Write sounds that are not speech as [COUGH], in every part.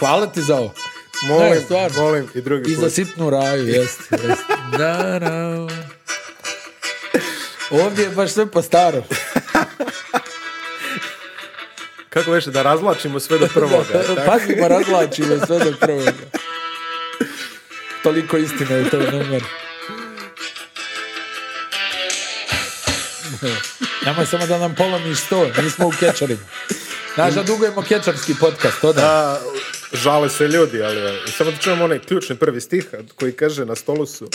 Hvala ti za ovo. Ne, Molim, stvarno. molim i drugi I za put. sitnu raju, jeste. jeste. [LAUGHS] Da, da. Ovdje je baš sve po staro. Kako već, da razvlačimo sve do [LAUGHS] prvoga. [LAUGHS] tako? Pazimo, razlačimo pa sve do prvoga. Toliko istine u toj numeru. Nemoj samo da nam polomiš sto, nismo u kečarima. Znaš da dugujemo kečarski podcast, to da. A, žale se ljudi, ali evo, samo da čujemo onaj ključni prvi stih koji kaže na stolu su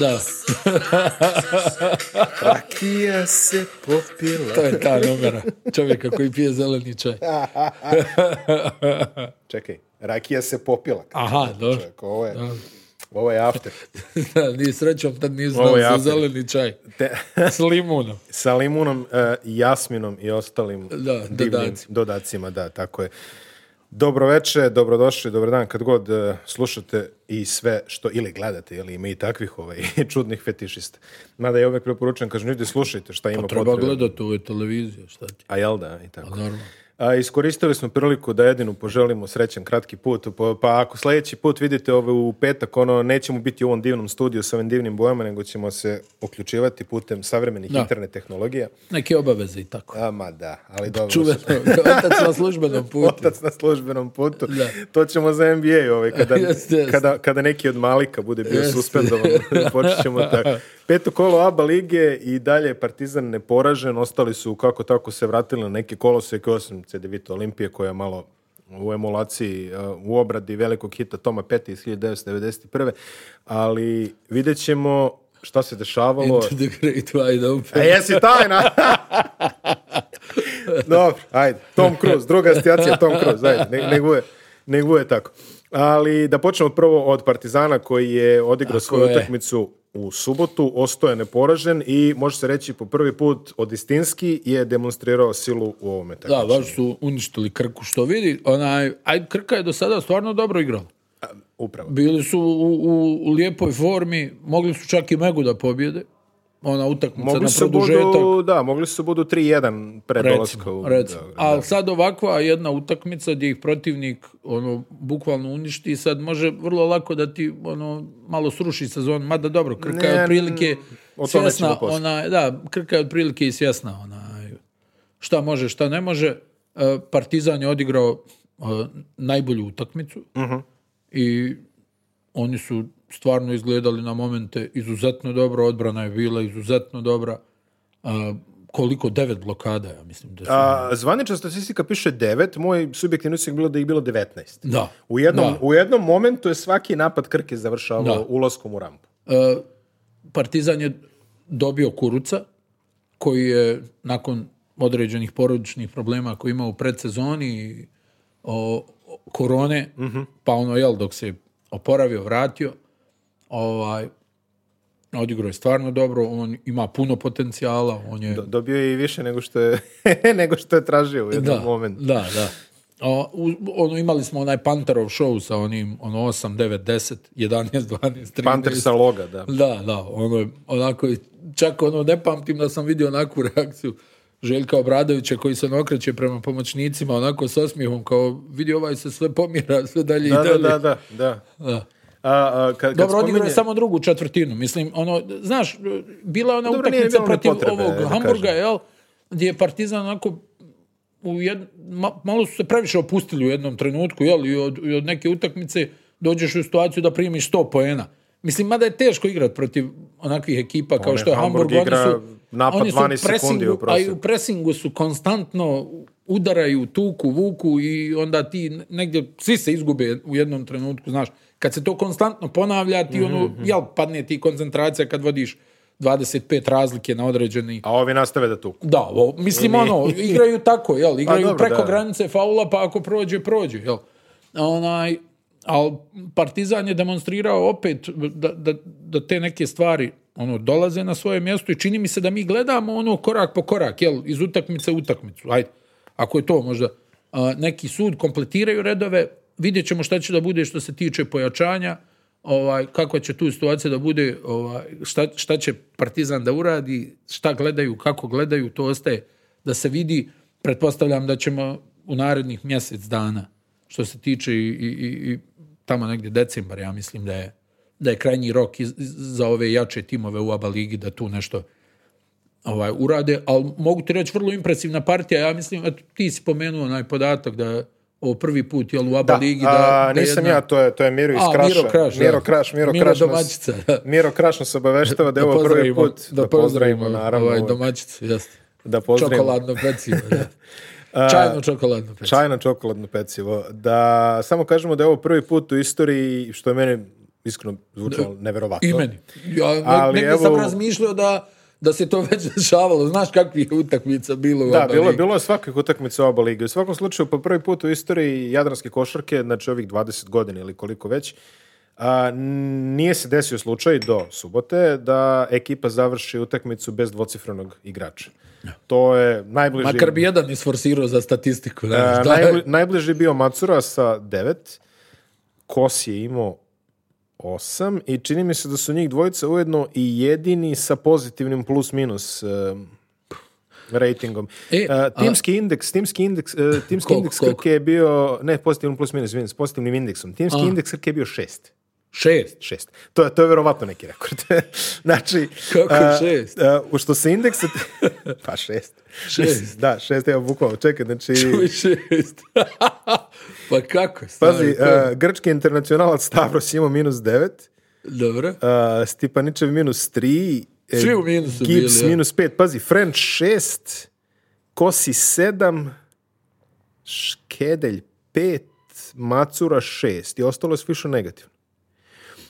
Da, Rakija se popila. to je ta numera. Čovjeka koji pije zeleni [LAUGHS] čaj. Čekaj, rakija se popila. Aha, dobro. Čovjek, ovo je, ovo je after. [LAUGHS] Da, ni srećom tad nisam Ovo je znao Pa za after. zeleni [LAUGHS] čaj. Te- S limunom. sa limunom, e, jasminom i ostalim Da, divnim dodacima. dodacima. Da, tako je. Dobro veče, dobrodošli, dobar dan, kad god e, slušate i sve što ili gledate, ili ima i takvih ovaj, [LAUGHS] čudnih fetišista. Mada ja uvek preporučujem, kažem, ljudi slušajte šta ima Pa Treba potrebe. gledati ovo je televizija, šta ti? A jel da, i tako. Pa Normalno. A, iskoristili smo priliku da jedinu poželimo srećan kratki put, pa, pa ako sljedeći put vidite ove u petak, ono, nećemo biti u ovom divnom studiju sa ovim divnim bojama, nego ćemo se uključivati putem savremenih Da. internet tehnologija. Neke obaveze i tako. A, ma da, ali dobro. [LAUGHS] Čuveno, otac na službenom [LAUGHS] putu. [LAUGHS] Otac na službenom putu. Da. To ćemo za NBA, ovaj, kada, [LAUGHS] Jeste, jeste. kada, kada neki od Malika bude bio Jeste. suspendovan. [LAUGHS] [LAUGHS] Počet ćemo tako. Peto kolo ABA lige i dalje je Partizan neporažen. Ostali su kako tako se vratili na neke koloseke osim CDVita Olimpije koja je malo u emulaciji, eh, u obradi velikog hita Toma Peti iz 1991. Ali vidjet ćemo šta se dešavalo. Into the great wide A open. jesi tajna? [LAUGHS] Dobro, ajde. Tom Cruise, druga asocijacija Tom Cruise, ajde, ne, ne guje, ne guje tako. Ali da počnemo prvo od Partizana koji je odigrao svoju je. utakmicu u subotu, ostao je neporažen i može se reći po prvi put od Istinski je demonstrirao silu u ovome Da, takmičenju. baš su uništili Krku, što vidi, onaj, aj Krka je do sada stvarno dobro igrala. A, Upravo. Bili su u, u, u lijepoj formi, mogli su čak i Megu da pobjede. Ona utakmica Mogli na su produžetak. budu, da, mogli su budu 3-1 pred dolaska Recimo, u recimo. Beograd, da. Ali sad ovakva jedna utakmica gdje ih protivnik ono, bukvalno uništi i sad može vrlo lako da ti ono, malo sruši sezon, mada dobro, Krka je Ne, otprilike o tome ćemo svjesna, poslije. ona, da, Krka je otprilike i svjesna ona, šta može, šta ne može. E, Partizan je odigrao e, najbolju utakmicu i oni su stvarno izgledali na momente izuzetno dobro, odbrana je bila izuzetno dobra. A, koliko? Devet blokada, ja mislim da su. A, zvanična statistika piše 9, moj subjektivni utisak je bilo da ih bilo 19. Da. U jednom, Da. u jednom momentu je svaki napad Krke završavao Da. ulaskom u rampu. E, Partizan je dobio Kuruca, koji je nakon određenih porodičnih problema koje ima u predsezoni i o, o- korone, Mhm. pa ono, jel, dok se oporavio, vratio, ovaj, odigrao je stvarno dobro, on ima puno potencijala, on je... Do- Dobio je i više nego što je, [LAUGHS] nego što je tražio u jednom da, momentu. Da, da. O, u- ono, imali smo onaj Panterov show sa onim ono, 8, 9, 10, 11, 12, 13. Panter sa loga, da. Da, da, ono, je- onako, je- čak ono, ne pamtim da sam vidio onakvu [LAUGHS] reakciju Željka Obradovića koji se ono okreće prema pomoćnicima, onako s osmijehom, kao vidi ovaj se sve pomjera, sve dalje Da, i da, dalje. da, da, da. A, a, kad, kad Dobro, odigrao je spominje- samo drugu četvrtinu. Mislim, ono, znaš, bila je ona Dobro, nije utakmica bilo ni protiv potrebe, ovog da Hamburga, kažem. jel? Gdje je Partizan onako u jed, ma- malo su se previše opustili u jednom trenutku, jel? I od, i od neke utakmice dođeš u situaciju da primiš 100 poena. Mislim, mada je teško igrat protiv onakvih ekipa kao One, što je Hamburg, Hamburg oni igra su, napad oni su 12 sekundi presingu, a u i prosjeku. u presingu su konstantno udaraju, tuku, vuku i onda ti negdje, svi se izgube u jednom trenutku, znaš, kad se to konstantno ponavlja, ti Mhm, ono, jel, padne ti koncentracija kad vodiš 25 razlike na određeni... A ovi nastave da tuku. Da, o, mislim, [LAUGHS] ono, igraju tako, jel, igraju Pa dobro, preko da. granice faula, pa ako prođe, prođe, jel. Onaj, ali Partizan je demonstrirao opet da, da, da te neke stvari ono dolaze na svoje mjesto i čini mi se da mi gledamo ono korak po korak, jel, iz utakmice u utakmicu. Ajde, ako je to možda a, neki sud, kompletiraju redove, vidjet ćemo šta će da bude što se tiče pojačanja, ovaj, kakva će tu situacija da bude, ovaj, šta, šta će Partizan da uradi, šta gledaju, kako gledaju, to ostaje da se vidi, pretpostavljam da ćemo u narednih mjesec dana, što se tiče i, i, i- i tamo negdje decembar, ja mislim da je, da je krajnji rok iz- iz- za ove jače timove u ABA ligi da tu nešto ovaj, urade, ali mogu ti reći vrlo impresivna partija, ja mislim, eto, ti si pomenuo onaj podatak da je ovo prvi put jel, u ABA Da, ligi da, a, da nisam jedna- ja, to je, to je Miro iz A, Kraša. Miro Kraš, da. Miro Kraš, Miro Miro Kraš nas- domaćica, da. Miro Kraš [LAUGHS] nas obaveštava da je da ovo prvi pozdravimo- put. Da pozdravimo, naravno. ovaj, ovo- domaćicu, jeste. Da pozdravimo. Čokoladno [LAUGHS] pecivo, da. Čajno čokoladno pecivo. Čajno čokoladno pecivo. Da samo kažemo da je ovo prvi put u istoriji, što je meni iskreno zvučalo neverovatno. I meni. Ja ne- Ali negdje sam evo- razmišljao da, da se to već dešavalo. Znaš kakvih je utakmica bilo u Da, ABA bilo, je- ligi? bilo je svakih utakmica oba lige. U svakom slučaju, po prvi put u istoriji jadranske košarke, znači ovih 20 godina ili koliko već, a, n- nije se desio slučaj do subote da ekipa završi utakmicu bez dvocifrenog igrača. To je najbliži... Makar bi jedan isforsirao za statistiku. Ne, E, znaš, da, najbli- najbliži je bio Macura sa 9, Kos je imao 8 i čini mi se da su njih dvojica ujedno i jedini sa pozitivnim plus minus e, ratingom. E, E, timski indeks, [LAUGHS] timski indeks, e, timski Koliko, indeks koliko? Krke je bio, ne, pozitivnim plus minus, izvinim, s pozitivnim indeksom. Timski indeks Krke je bio 6. Šest. Šest. To je, to je verovatno neki rekord. [LAUGHS] znači, Kako je a, šest? a, u što se indeksa... [LAUGHS] pa šest. Šest. Da, šest, evo, bukvalno, čekaj, znači... [LAUGHS] Ovo je Šest. pa kako? stari, Pazi, to je- e, grčki internacionalac Stavros imao minus 9, Dobro. e, Stipaničev minus 3, e, Svi u minusu bili, Gibbs ja. minus 5, pazi, French 6, Kosi 7, Škedelj 5, Macura 6 i ostalo je više negativno.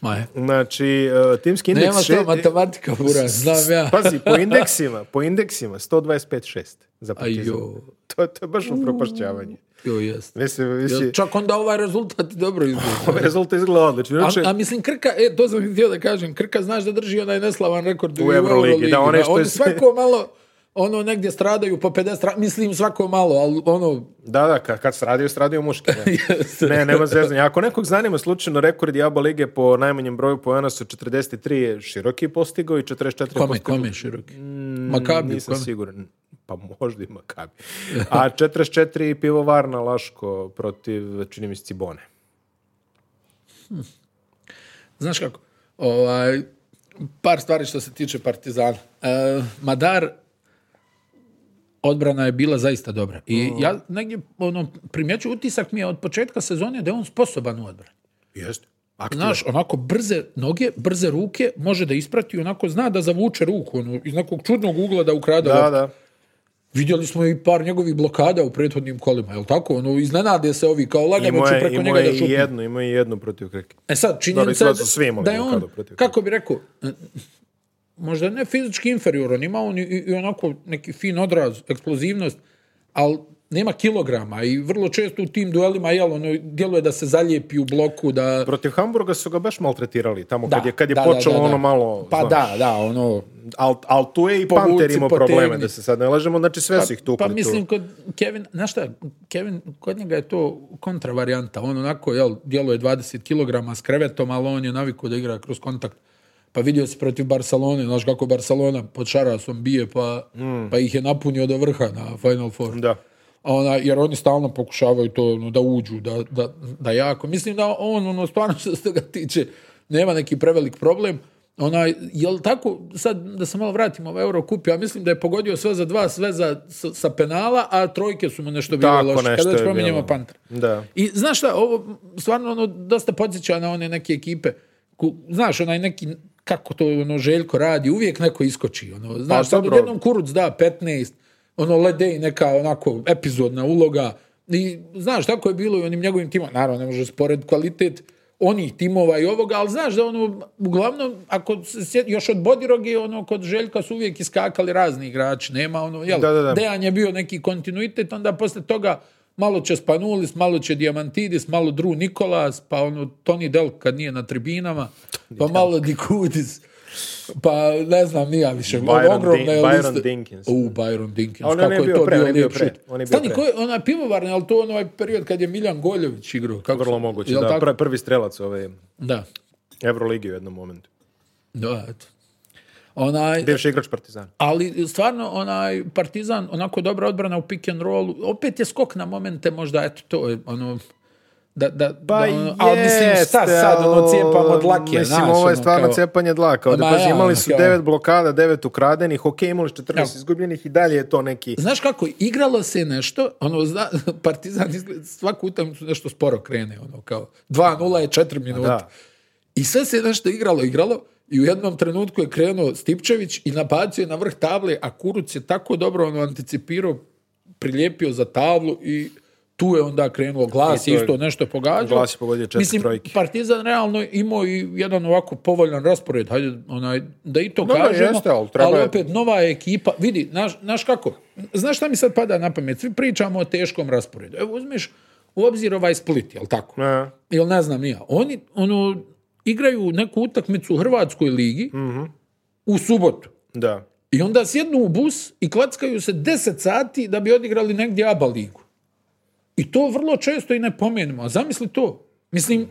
Ma je. Znači, e, timski indeks... Nema što še- matematika, bura, znam ja. [LAUGHS] Pazi, po indeksima, po indeksima, 125-6 za partizan. Ajo. To, to je baš upropašćavanje. Jo, jeste. Mislim, Jel mislim, Čak onda ovaj rezultat je dobro izgleda. ovaj rezultat izgleda odlično. A, Inače- a mislim Krka, e, to sam htio da kažem, Krka znaš da drži onaj neslavan rekord u, Euroligi, Euroligi. da, onaj što je oni sve- svako malo, ono negdje stradaju po 50, stra- mislim svako malo, ali ono, Da, da, kad, kad se radio, se radio muški. [LAUGHS] Ne, ne nema zezanja. Ako nekog zanima slučajno rekord Jaba Lige po najmanjem broju pojena su 43 je široki postigao i 44 kome, postigao. kome je široki? Makabi, Mm, Nisam kome? siguran. Pa možda i Makabi. A 44 pivovarna Laško protiv, čini mi se, Cibone. Znaš kako, ovaj, par stvari što se tiče Partizana. E, Madar, odbrana je bila zaista dobra. I Mm. ja negdje ono, primjeću utisak mi je od početka sezone da je on sposoban u odbrani. Jeste. Aktivan. Znaš, onako brze noge, brze ruke, može da isprati, onako zna da zavuče ruku, ono, iz nekog čudnog ugla da ukrade. Da, loptu. da. Vidjeli smo i par njegovih blokada u prethodnim kolima, je tako? Ono, iznenade se ovi, kao lagano Imao ću je, preko imao njega da je i šutne. jednu, imao je i jednu protiv Krke. E sad, Dobro, i činjenica sad su svi imali da je blokadu on, protiv kako bi rekao, [LAUGHS] možda ne fizički inferioran, ima on i, i onako neki fin odraz, eksplozivnost, ali nema kilograma i vrlo često u tim duelima, jel, ono, djeluje da se zalijepi u bloku, da... Protiv Hamburga su ga baš maltretirali tamo kad je, kad je da, da, počelo da, da. ono malo... Pa znaš, da, da, ono... Al, al tu je i Povuci, Panter imao probleme, potegni. da se sad ne lažemo, znači sve su ih tukli Pa tu. mislim, kod Kevin, znaš šta, Kevin, kod njega je to kontravarijanta. On onako, jel, djeluje 20 kg s krevetom, ali on je naviku da igra kroz kontakt. Pa vidio se protiv Barcelone, znaš kako Barcelona pod Šarasom bije, pa, Mm. pa ih je napunio do vrha na Final Four. Da. A Ona, jer oni stalno pokušavaju to ono, da uđu, da, da, da jako. Mislim da on, ono, stvarno što se toga tiče, nema neki prevelik problem. Ona, jel tako, sad da se malo vratimo u Eurokup, ja mislim da je pogodio sve za dva, sve za, sa, sa penala, a trojke su mu nešto bile Tako loše. nešto Kada već je pominjemo bilo. Panter. Da. I znaš šta, ovo stvarno ono dosta podsjeća na one neke ekipe. Ku, znaš, onaj neki kako to ono Željko radi, uvijek neko iskoči. Ono, znaš, sad Pa dobro. odjednom Kuruc da 15, ono Ledej neka onako epizodna uloga. I znaš, tako je bilo i onim njegovim timom. Naravno, ne može spored kvalitet onih timova i ovoga, ali znaš da ono, uglavnom, ako se sjeti- još od Bodiroge, ono, kod Željka su uvijek iskakali razni igrači, nema ono, jel, Da, da, da. Dejan je bio neki kontinuitet, onda posle toga malo će Spanulis, malo će Diamantidis, malo Dru Nikolas, pa ono Toni Del kad nije na tribinama, pa malo Dikudis, pa ne znam, nija više. Byron Ogromna je Din- Byron lista. Dinkins. U, Byron Dinkins. Ali on Kako je je bio to pre, bio on je bio lijep pre, šut. on je bio Stani, pre. ko je onaj pivovarni, ali to onaj period kad je Miljan Goljević igrao. Kako, Vrlo moguće, jel da, tako? pr- prvi strelac ove Da. Euroligi u jednom momentu. Da, eto. Onaj, Bivši igrač Partizana. ali stvarno onaj Partizan onako dobra odbrana u pick and rollu. Opet je skok na momente možda eto to je ono da da Pa da, ono, ali mislim šta jeste, sad ono ali, cijepam od lake, Mislim, znaš, ovo je ono, stvarno kao- cepanje dlaka. Ovdje, Ma pazi, ja, imali ono, su kao- 9 blokada, 9 ukradenih, ok, imali su 14 izgubljenih i dalje je to neki... Znaš kako, igralo se nešto, ono, zna, [LAUGHS] Partizan izgleda, svaku utakmicu nešto sporo krene, ono, kao 2-0 je 4 minuta. da. I sve se nešto igralo, igralo, i u jednom trenutku je krenuo Stipčević i nabacio je na vrh table, a Kuruc je tako dobro ono anticipirao, prilijepio za tablu i tu je onda krenuo glas, I to je- isto nešto pogađao. Glas je pogodio četiri Mislim, trojke. Partizan realno imao i jedan ovako povoljan raspored, hajde, onaj, da i to Dobro, kažemo, jeste, ali treba je- opet nova je ekipa, vidi, znaš, znaš kako, znaš šta mi sad pada na pamet, svi pričamo o teškom rasporedu, evo uzmeš u obzir ovaj Split, jel tako? Ne. Jel ne znam ja, oni ono, igraju neku utakmicu u Hrvatskoj ligi u subotu Da. i onda sjednu u bus i klackaju se 10 sati da bi odigrali negdje ABA ligu. I to vrlo često i ne pomenimo. A zamisli to. Mislim,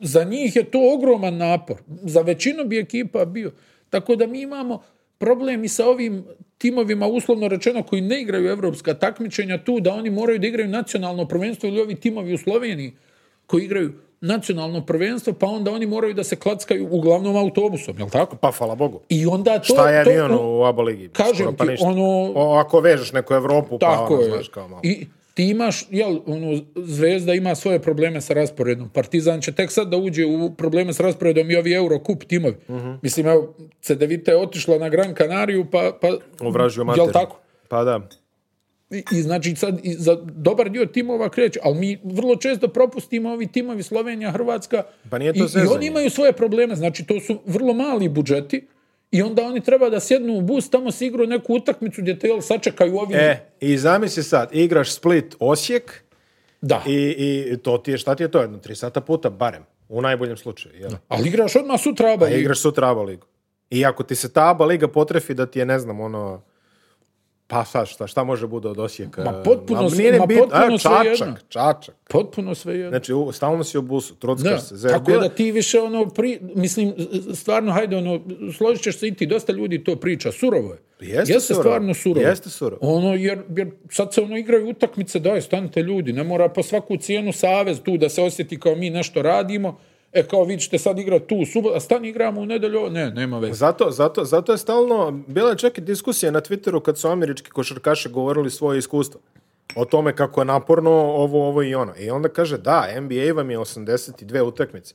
za njih je to ogroman napor. Za većinu bi ekipa bio. Tako da mi imamo problem i sa ovim timovima, uslovno rečeno, koji ne igraju evropska takmičenja tu, da oni moraju da igraju nacionalno prvenstvo ili ovi timovi u Sloveniji koji igraju nacionalno prvenstvo, pa onda oni moraju da se klackaju uglavnom autobusom, jel tako? Pa, hvala Bogu. I onda to... Šta je to- avion u ABA ligi? Kažem Skoro pa ti, ništa. ono- O, ako vežeš neku Evropu, pa Tako ono, je. znaš kao malo. I ti imaš, jel, ono, Zvezda ima svoje probleme sa rasporedom. Partizan će tek sad da uđe u probleme sa rasporedom i ovi Eurocup timovi. Mhm. Mislim, evo, CDVita je otišla na Gran Kanariju, pa... pa Ovražio mater. Jel tako? Pa da. I, i znači sad i za dobar dio timova kreće, ali mi vrlo često propustimo ovi timovi Slovenija, Hrvatska Pa nije to i, i zezanje. oni imaju svoje probleme, znači to su vrlo mali budžeti i onda oni treba da sjednu u bus, tamo se igraju neku utakmicu gdje te jel, sačekaju ovi... E, i zamisli sad, igraš Split Osijek da. i, i to ti je, šta ti je to, jedno, tri sata puta, barem, u najboljem slučaju, jel? Ali igraš odmah sutra ABA Pa ligu. igraš sutra ABA ligu. I ako ti se ta ABA liga potrefi da ti je, ne znam, ono, pa sad šta, šta može bude od Osijeka? Ma potpuno Ma sve- nije ni ma bitno. potpuno A, svejedno. Čačak, čačak. Potpuno sve jedno. Znači, u, stalno si u busu, trockaš Da, se. zebio. tako da ti više ono, pri, mislim, stvarno, hajde, ono, složit ćeš se i ti, dosta ljudi to priča, surovo je. Jeste surovo. stvarno surovo. Jeste surovo. Ono, jer, jer sad se ono igraju utakmice, daj, stanite ljudi, ne mora po svaku cijenu savez tu da se osjeti kao mi nešto radimo, e kao vi ćete sad igrati tu, u subot, a stan igramo u nedelju, ovo- ne, nema veze. Zato, zato, zato je stalno, bila je čak i diskusija na Twitteru kad su američki košarkaši govorili svoje iskustvo o tome kako je naporno ovo, ovo i ono. I onda kaže, da, NBA vam je 82 utakmice.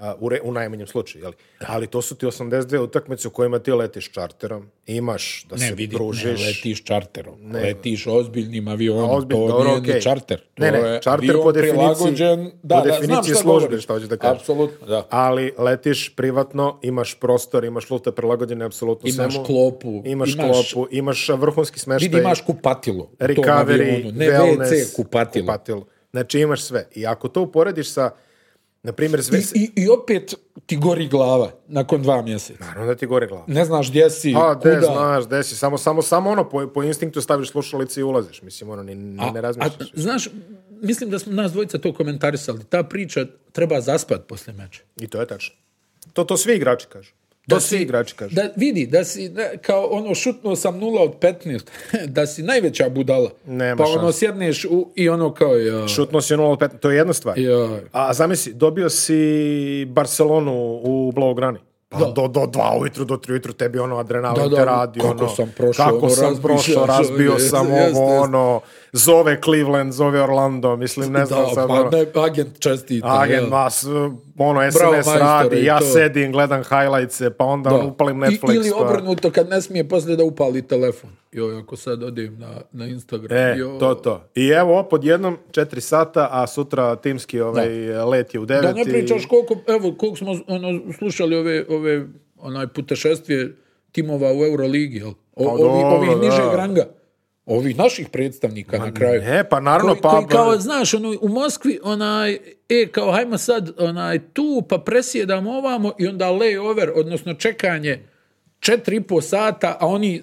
a, u, re- u najmanjem slučaju, jeli? Ali to su ti 82 utakmice u kojima ti letiš čarterom, imaš da Ne, se vidi, ne, družiš. letiš čarterom. Letiš ozbiljnim avionom. Ozbiljno, to dobro, nije ni okej. čarter. Ne, ne, To je čarter avion po definiciji- prilagođen- da, po da, znam definiciji šta službe, govoriš. šta hoću da kažem. Apsolutno, da. Ali letiš privatno, imaš prostor, imaš lute prilagođene apsolutno Imaš svemu. klopu, Imaš, imaš- klopu, imaš vrhunski smeštaj. Vidi, imaš kupatilo. u tom recovery, avionu. Ne, wellness, WC kupatilo. Znači imaš sve. I ako to uporediš sa, na primjer, sve... I, i, I opet ti gori glava nakon dva mjeseca. Naravno da ti gore glava. Ne znaš gdje si, A, de, kuda. znaš, de si, samo, samo, samo ono, po, po instinktu staviš slušalice i ulaziš. Mislim, ono, ni, ni ne A, razmišljaš. znaš, mislim da smo nas dvojica to komentarisali. Ta priča treba zaspat poslije meča. I to je tačno. To, to svi igrači kažu. To Da svi si- igrači kažu. Da vidi, da si, ne, kao ono, šutnuo sam nula od 15, [LAUGHS] da si najveća budala. Nema pa ono, šanse. sjedneš u, i ono kao, ja, Šutno si 0 od 15, to je jedna stvar. ja, A zamisli, dobio si Barcelonu u Blaugrani. Pa do, do dva ujutru, do tri ujutru tebi ono adrenalin Da, da, te radi. kako ono, sam prošao, kako ono, sam razbišao [LAUGHS] sam, prošao, razbio jeste, sam ovo, jeste, jeste. ono, zove Cleveland, zove Orlando, mislim, ne znam da, sad, pa ono, ne, agent čestita. agent ja. vas, ono, SMS Bravo, majstore, radi, i ja to. sedim, gledam highlights pa onda Da. upalim I- Netflix. ili pa- obrnuto, kad ne smije poslije da upali telefon. Joj, ako sad odem na, na Instagram. E, joj. to, to. I evo, opod jednom, četiri sata, a sutra timski ovaj, let je u devet. Da ne i- pričaš koliko, evo, koliko smo ono, slušali ove, ove onaj putešestvije timova u Euroligi, jel? O, Pa ovi, dobro, ovih da. nižeg ranga. Ovih naših predstavnika na kraju. Ne, pa naravno, koji, pa... koji kao, znaš, ono, u Moskvi, onaj, e, kao, hajmo sad, onaj, tu, pa presjedamo ovamo i onda layover, odnosno čekanje četiri i po sata, a oni,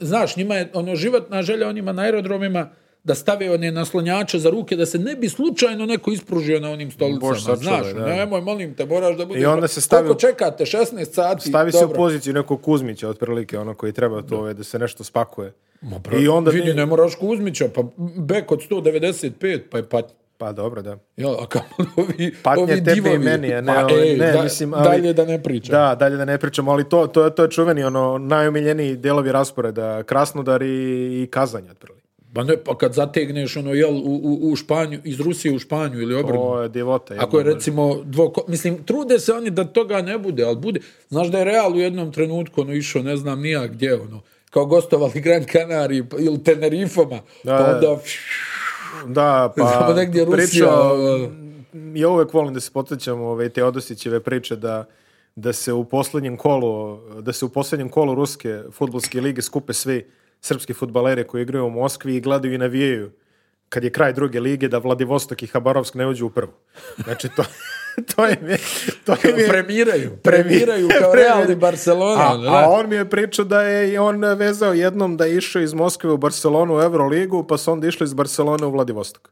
znaš, njima je, ono, životna želja onima na aerodromima da stave one naslonjače za ruke, da se ne bi slučajno neko ispružio na onim stolicama. Bože, sačuvaj, Znaš, ono, da. nemoj, molim te, moraš da budeš... I onda se stavi- Koliko čekate? 16 sati? Stavi se u Dobro. poziciju nekog Kuzmića, otprilike, ono koji treba to ovaj, da se nešto spakuje. I onda... Vidi, ne- ne moraš Kuzmića, pa bek od 195, pa je patnja. Pa dobro, da. Jel, a kamoli [LAUGHS] ovi, Patnje ovi tebi i divovi. meni, a ne, Pa, ovaj, ej, ne, da- mislim, ali- Dalje da ne pričam. Da, dalje da ne pričamo, ali to, to, je- to je čuveni, ono, najomiljeniji delovi rasporeda, Krasnodar i, i Kazanje, otprilike. Pa ne, pa kad zategneš ono, jel, u, u, u Španju, iz Rusije u Španju ili obrnuto. To je divota. Ako je jedno- recimo dvoko... Mislim, trude se oni da toga ne bude, ali bude... Znaš da je Real u jednom trenutku ono išao, ne znam nija gdje, ono, kao gostovali Gran Canari pa- ili Tenerifama, Da, da. pa onda... Da, pa Znamo negdje Rusija, priča, ovaj. ja uvek volim da se podsjećam ove te Odosićeve priče da da se u posljednjem kolu da se u posljednjem kolu ruske fudbalske lige skupe svi srpski fudbaleri koji igraju u Moskvi i gledaju i navijaju kad je kraj druge lige da Vladivostok i Habarovsk ne uđu u prvu. Znači to [LAUGHS] to je to im je Premiraju, premiraju [LAUGHS] kao Real i Barcelona. ono, a, da. a on mi je pričao da je i on vezao jednom da je išao iz Moskve u Barcelonu u Euroligu, pa su onda išli iz Barcelone u Vladivostok.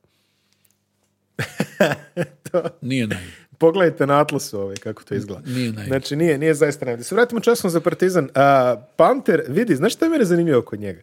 Nije najbolje. Pogledajte na Atlasu ovaj, kako to izgleda. Nije najbolje. Znači, nije, nije zaista najbolje. Da Se vratimo časom za Partizan. A, Panter, vidi, znaš što je mene zanimljivo kod njega?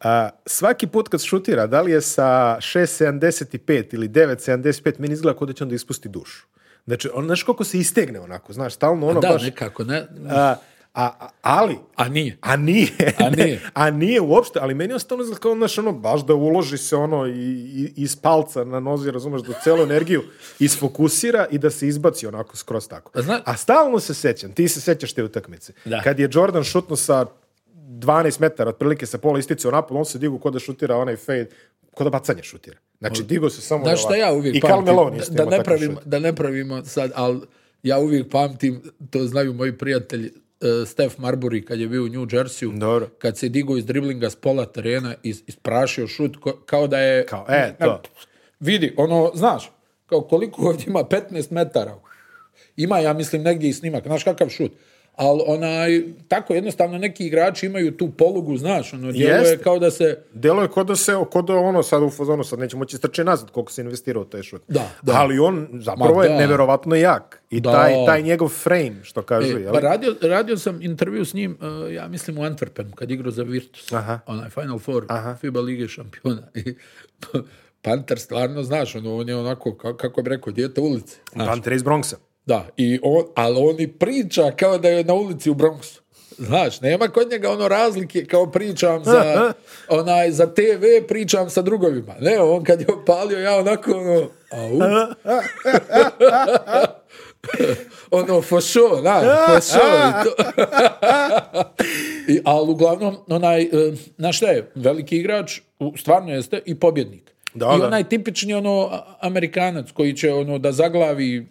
A, svaki put kad šutira, da li je sa 6.75 ili 9.75, meni izgleda kao da će onda ispusti dušu. Znači, on, znaš koliko se istegne onako, znaš, stalno ono Da, baš... nekako, ne... A, a, a- ali, A nije. a nije. A nije. [LAUGHS] a nije uopšte, ali meni je ostalo izgleda kao, znaš, ono, baš da uloži se ono i, i- iz palca na nozi, razumeš, da celu energiju isfokusira i da se izbaci onako skroz tako. A Pa zna- A stalno se sećam, ti se sećaš te utakmice. Da. Kad je Jordan šutno sa 12 metara, otprilike sa pola isticao napad, on se digu kod da šutira onaj fade, kod da bacanje šutira. Znači, digo se samo... Znaš šta ovako. ja uvijek I Karl pamtim? Malone isto da, ima da, ne takav pravimo, šut. da ne pravimo sad, ali ja uvijek pamtim, to znaju moji prijatelji, eh, Steph Marbury kad je bio u New Jerseyu, Dobro. kad se digao iz driblinga s pola terena i isprašio šut, ko- kao da je... Kao, e, to. Vidi, ono, znaš, kao koliko ovdje ima 15 metara. Ima, ja mislim, negdje i snimak, znaš kakav šut. Ali onaj, tako jednostavno neki igrači imaju tu polugu, znaš, ono, djeluje Jeste. kao da se... Delo je kod da se, kod da ono sad u fazonu, sad neće moći strči nazad koliko se investirao u taj šut. Da, da. Ali on zapravo Ma je da. neverovatno jak. I Da. taj, taj njegov frame, što kažu, E, jel? pa radio, radio sam intervju s njim, uh, ja mislim u Antwerpenu, kad igrao za Virtus. Aha. Onaj Final Four, FIBA Lige šampiona. I [LAUGHS] Panter stvarno, znaš, ono, on je onako, ka- kako bi rekao, dijete ulice. Znaš. Panter iz Bronxa. Da, i on, ali on i priča kao da je na ulici u Bronxu. Znaš, nema kod njega ono razlike kao pričam za, onaj, za TV, pričam sa drugovima. Ne, on kad je opalio, ja onako ono, au. [LAUGHS] ono, for sure, znaš, for sure. I to. I, ali uglavnom, onaj, e, znaš šta je, veliki igrač, u- stvarno jeste, i pobjednik. Da, I da. onaj tipični ono a- Amerikanac koji će ono da zaglavi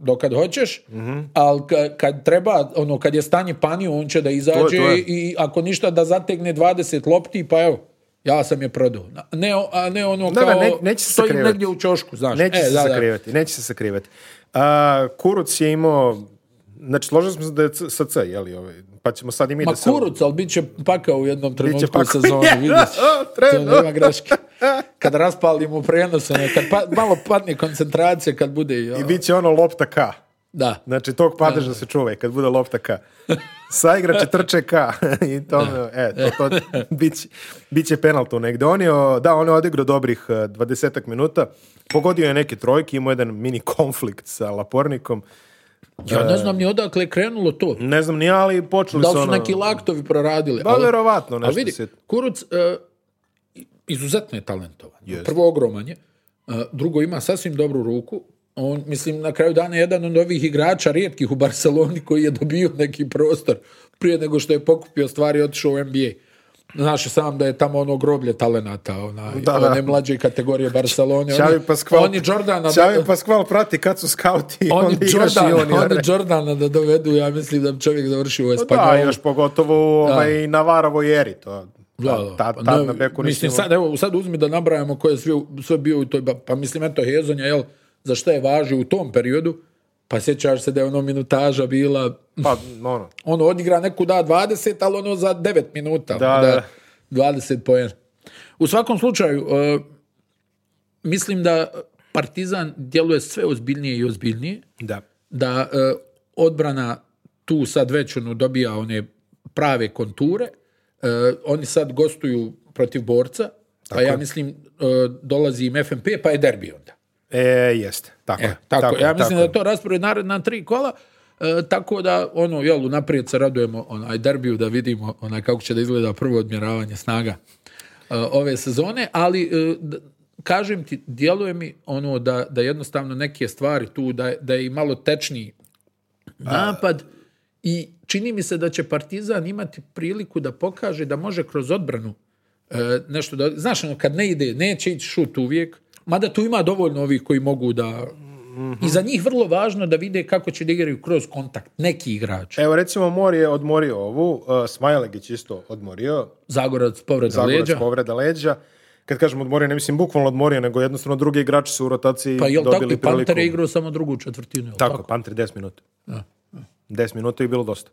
dokad hoćeš, Mhm. ali ka- kad treba, ono kad je stanje panio, on će da izađe to je. i ako ništa da zategne 20 lopti, pa evo, ja sam je prodao. Na- Ne, o- a ne ono Da, da, kao, ne- neće se stojim sakrivati. negdje u čošku, znaš. Neće E, se da, da. sakrivati, neće se sakrivati. A, Kuruc je imao, znači složili smo se da je C- SC, jel? Ovaj, pa ćemo sad i mi Ma da se... kuruc, ali bit će pakao u jednom trenutku pakao. u sezoni, Je, [LAUGHS] vidiš. o, To trenu. nema greške. Kad raspalimo prenose, ono, kad pa- malo padne koncentracija, kad bude... I bit će ono lopta K. Da. Znači, tog padeža se čuvaj kad bude lopta K. Sa igrače trče K. [LAUGHS] I to, e, to, to bit, će, bit će penal tu negde. On je, o, da, on je odigrao dobrih e, 20 minuta. Pogodio je neke trojke, imao jedan mini konflikt sa Lapornikom. Ja ne znam ni odakle je krenulo to. Ne znam ni ja, ali počeli Da li su su ono... neki laktovi proradili? Pa, ali- verovatno ali nešto vidi, se- Kuruc e, izuzetno je talentovan. Prvo ogroman je. E, drugo ima sasvim dobru ruku. On, mislim, na kraju dana je jedan od ovih igrača rijetkih u Barceloni koji je dobio neki prostor prije nego što je pokupio stvari i otišao u NBA. Znaš i sam da je tamo ono groblje talenata, onaj, Da, da. one mlađe kategorije Barcelone. Xavi oni, Pascual, oni Jordana... Xavi Pascual prati kad su skauti, Oni onda igraš i Jordana, juniore. oni pa Jordana da dovedu, ja mislim da bi čovjek završio u Espanjolu. Pa Da, još pogotovo ovaj, na Varovo jeri. To, Da, da. Tad, Pa tad ne, na beku nisi mislim, imao- sad, evo, sad uzmi da nabrajamo ko je sve, sve bio u toj, ba- pa mislim, eto, Hezonja, jel, za šta je važio u tom periodu, pa sjećaš se da je ono minutaža bila, Pa, ono, ono, odigra neku da 20, ali ono za 9 minuta, Da, ono, da. 20 poena. U svakom slučaju, e, mislim da Partizan djeluje sve ozbiljnije i ozbiljnije, Da. da e, odbrana tu sad već ono, dobija one prave konture. E, oni sad gostuju protiv borca, pa ja mislim e, dolazi im FNP, pa je derbi onda. E, jeste. Tako, E, je, tako, tako ja je, mislim tako da je. je to raspored naredna tri kola, e, tako da, ono, jel, unaprijed se radujemo onaj derbiju da vidimo onaj kako će da izgleda prvo odmjeravanje snaga e, ove sezone, ali e, d- kažem ti, djeluje mi ono da, da jednostavno neke stvari tu, da, je- da je i malo tečniji napad i čini mi se da će Partizan imati priliku da pokaže da može kroz odbranu e, nešto da... Znaš, ono, kad ne ide, neće ići šut uvijek, mada tu ima dovoljno ovih koji mogu da... Mhm. I za njih vrlo važno da vide kako će da igraju kroz kontakt neki igrač. Evo, recimo, Mor je odmorio ovu, uh, Smajlegić isto odmorio, Zagorac povreda Zagorac leđa. povreda leđa. Kad kažem odmorio, ne mislim bukvalno odmorio, nego jednostavno drugi igrači su u rotaciji Pa jel tako dobili i Panter je priliku. igrao samo drugu četvrtinu. jel Tako, Panter 10 minuta. 10 minuta je bilo dosta.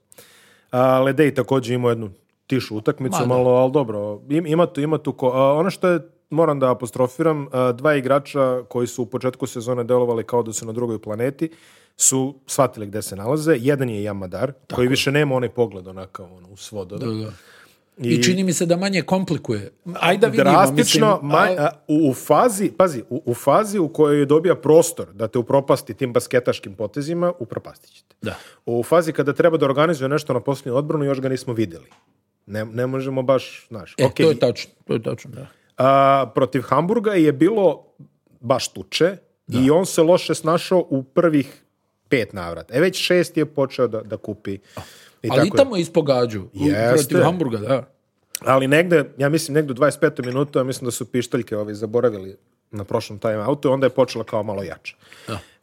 A, Ledej također imao jednu tišu utakmicu, Ma da. malo, ali dobro, im- ima tu, ima tu ko- a, ono što je, moram da apostrofiram, a, dva igrača koji su u početku sezone delovali kao da su na drugoj planeti, su shvatili gde se nalaze. Jedan je Jamadar, koji više nema onaj pogled onakav ono, u svodove. Da. I, čini mi se da manje komplikuje. Ajde da vidimo, drastično mislim, ma- al- a, u, u fazi, pazi, u, u fazi u kojoj dobija prostor da te upropasti tim basketaškim potezima, upropastit ćete. Da. U fazi kada treba da organizuje nešto na posljednju odbranu, još ga nismo vidjeli. Ne, ne možemo baš, znaš, E, ok, to je tačno, to je tačno, da. a, protiv Hamburga je bilo baš tuče i on se loše snašao u prvih pet navrata. E već šest je počeo da, da kupi. I Ali i tako je. tamo ispogađu. u- Protiv Jeste. Hamburga, da. Ali negde, ja mislim negde u 25. minutu, ja mislim da su pištaljke ovi zaboravili na prošlom timeoutu, onda je počela kao malo jače.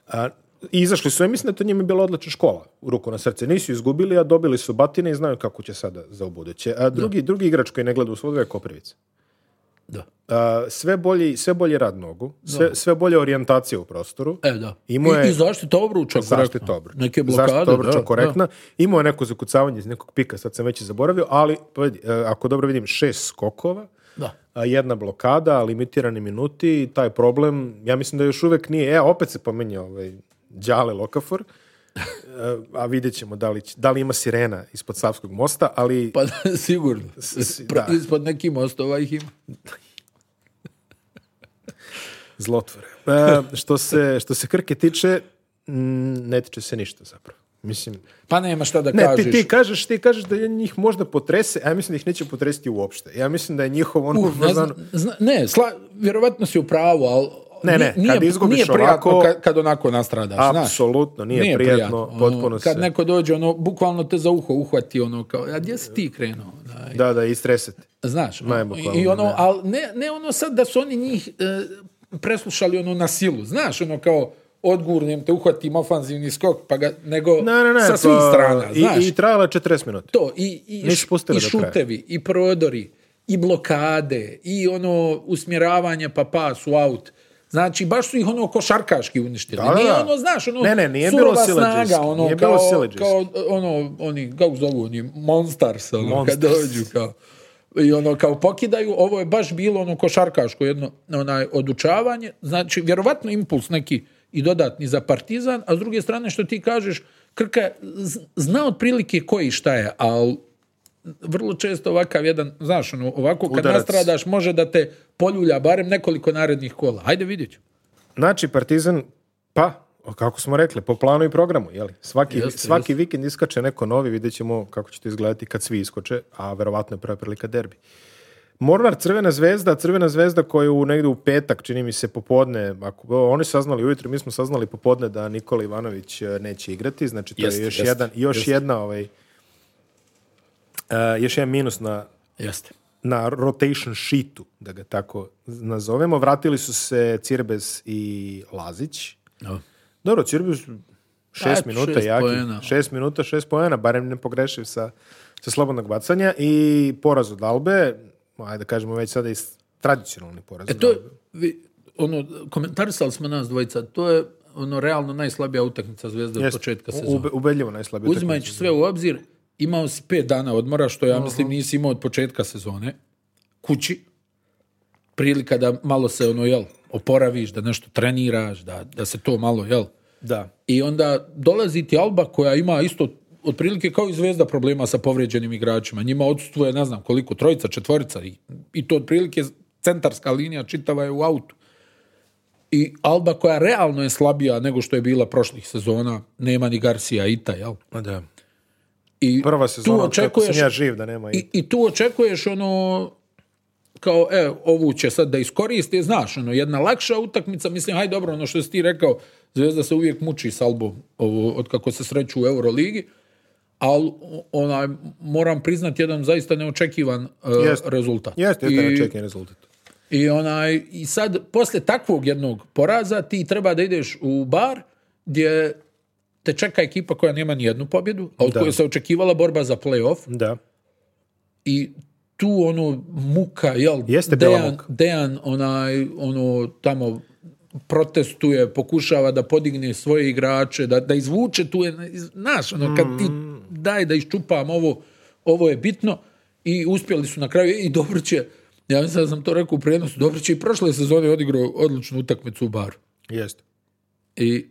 A, i izašli su, ja mislim da je to njima bila odlična škola, u ruku na srce. Nisu izgubili, a dobili su batine i znaju kako će sada za ubuduće. A drugi, drugi igrač koji ne gleda u svoje je Koprivica. da. A, sve, bolji, sve bolje rad nogu, sve, sve bolje orijentacija u prostoru. E, da. Imao je- I, i zaštita obruča, Zaštita korektno. obruča. Neke blokade, Zaštita obruča da, korektna. Imao je neko zakucavanje iz nekog pika, sad sam već i zaboravio, ali pa vidi, e, ako dobro vidim, šest skokova, Da. a jedna blokada, limitirani minuti, taj problem, ja mislim da još uvek nije, e, opet se pominje ovaj Đale Lokafor, E, a vidjet ćemo da li, će- da li ima sirena ispod Savskog mosta, ali Pa [LAUGHS] da, sigurno. s- Pra- da. Ispod nekih mostova ih ima. zlotvore. E, što, se, što se Krke tiče, mm, ne tiče se ništa zapravo. Mislim, Pa nema šta da Ne, kažeš. ti, ti kažeš, ti kažeš da njih možda potrese, a ja mislim da ih neće potresiti uopšte. Ja mislim da je njihov ono... Uf, Uh, ne, znam, zna- ne sla, vjerovatno si u pravu, ali Ne, ne, nije, kad izgubiš nije prijatno ovako- kad, kad onako nastradaš. znaš. Apsolutno, nije, prijatno, ono, potpuno Kad se... neko dođe, ono, bukvalno te za uho uhvati, ono, kao, a gdje si ti krenuo? Da, Da, da, istresete. Znaš, ono, Najbukvalno, i ono, ne. ali ne, ne ono sad da su oni njih e, preslušali ono na silu, znaš, ono kao odgurnem te, uhvatim ofanzivni skok, pa ga, nego Ne, ne, ne. sa pa, svih strana, i, znaš. I trajala je 40 minuta. to, i, i, Nisu š- pustili i do kraja. šutevi, i prodori, i blokade, i ono usmjeravanje pa pas u aut. Znači, baš su ih ono košarkaški uništili. Da, da, Nije da. ono, znaš, ono, Ne, ne, nije bilo surova siledžijski, snaga, ono, nije bilo kao, siledžijski. kao, ono, oni, kako zovu, oni, monstars, ono, Monstars. kad dođu, kao, i ono, kao pokidaju, ovo je baš bilo ono košarkaško jedno, onaj, odučavanje, znači, vjerovatno impuls neki i dodatni za partizan, a s druge strane, što ti kažeš, Krka je z- zna otprilike koji šta je, ali vrlo često ovakav jedan, znaš, ono, ovako kad Udarac. nastradaš, može da te poljulja barem nekoliko narednih kola. Hajde vidjet ću. Znači, Partizan, pa, o, kako smo rekli, po planu i programu, jeli? Svaki, Jeste, svaki vikend iskače neko novi, vidjet ćemo kako će to izgledati kad svi iskoče, a verovatno je prva prilika derbi. Mornar Crvena zvezda, Crvena zvezda koju negdje u petak, čini mi se, popodne, ako, o, oni saznali ujutro, mi smo saznali popodne da Nikola Ivanović e, neće igrati, znači to Jeste, je još, jeste, jedan, još jeste. jedna ovaj, e, još jedan minus na, Jeste. na rotation sheetu, da ga tako nazovemo. Vratili su se Cirbes i Lazić. Dobro, Cirbes šest A, minuta šest jaki. poena. Šest minuta, šest poena, barem ne pogrešiv sa, sa slobodnog bacanja. I poraz od Albe, ajde da kažemo već sada i s- tradicionalni poraz E od to je, Albe. vi, ono, komentarisali smo nas dvojica, to je ono realno najslabija utakmica Zvezde od Jeste, početka u- sezone. ube- ubedljivo najslabija utakmica. Uzimajući sve u obzir, imao si pet dana odmora, što ja mislim nisi imao od početka sezone, kući, prilika da malo se ono, jel, oporaviš, da nešto treniraš, da, da se to malo, jel? Da. I onda dolazi ti Alba koja ima isto otprilike kao i zvezda problema sa povrijeđenim igračima. Njima odstvuje ne znam koliko, trojica, četvorica i, i to otprilike centarska linija čitava je u autu. I Alba koja realno je slabija nego što je bila prošlih sezona, nema ni Garcia Ita, jel? Da. I Prva tu sezona, očekuješ... očekuješ- sam ja živ da nema i, i tu očekuješ ono kao, e, ovu će sad da iskoriste, znaš, ono, jedna lakša utakmica, mislim, haj dobro, ono što si ti rekao, Zvezda se uvijek muči s Albom, ovo, od kako se sreću u Euroligi, ali onaj, moram priznat jedan zaista neočekivan e, Jeste. rezultat. Jeste, jeste I- neočekivan rezultat. i, onaj, I sad, posle takvog jednog poraza, ti treba da ideš u bar gdje te čeka ekipa koja nema ni jednu pobjedu, a od koje se očekivala borba za play-off Da. i tu ono muka, jel? Jeste bila Dejan, muka. Dejan onaj, ono, tamo protestuje, pokušava da podigne svoje igrače, da, da izvuče tu, je- znaš, ono, kad ti Mm. daj da iščupam ovo, ovo je bitno i uspjeli su na kraju i dobro će, ja mislim da sam to rekao u prijenosu, dobro će i prošle sezone odigrao odličnu utakmicu u baru. Jeste. I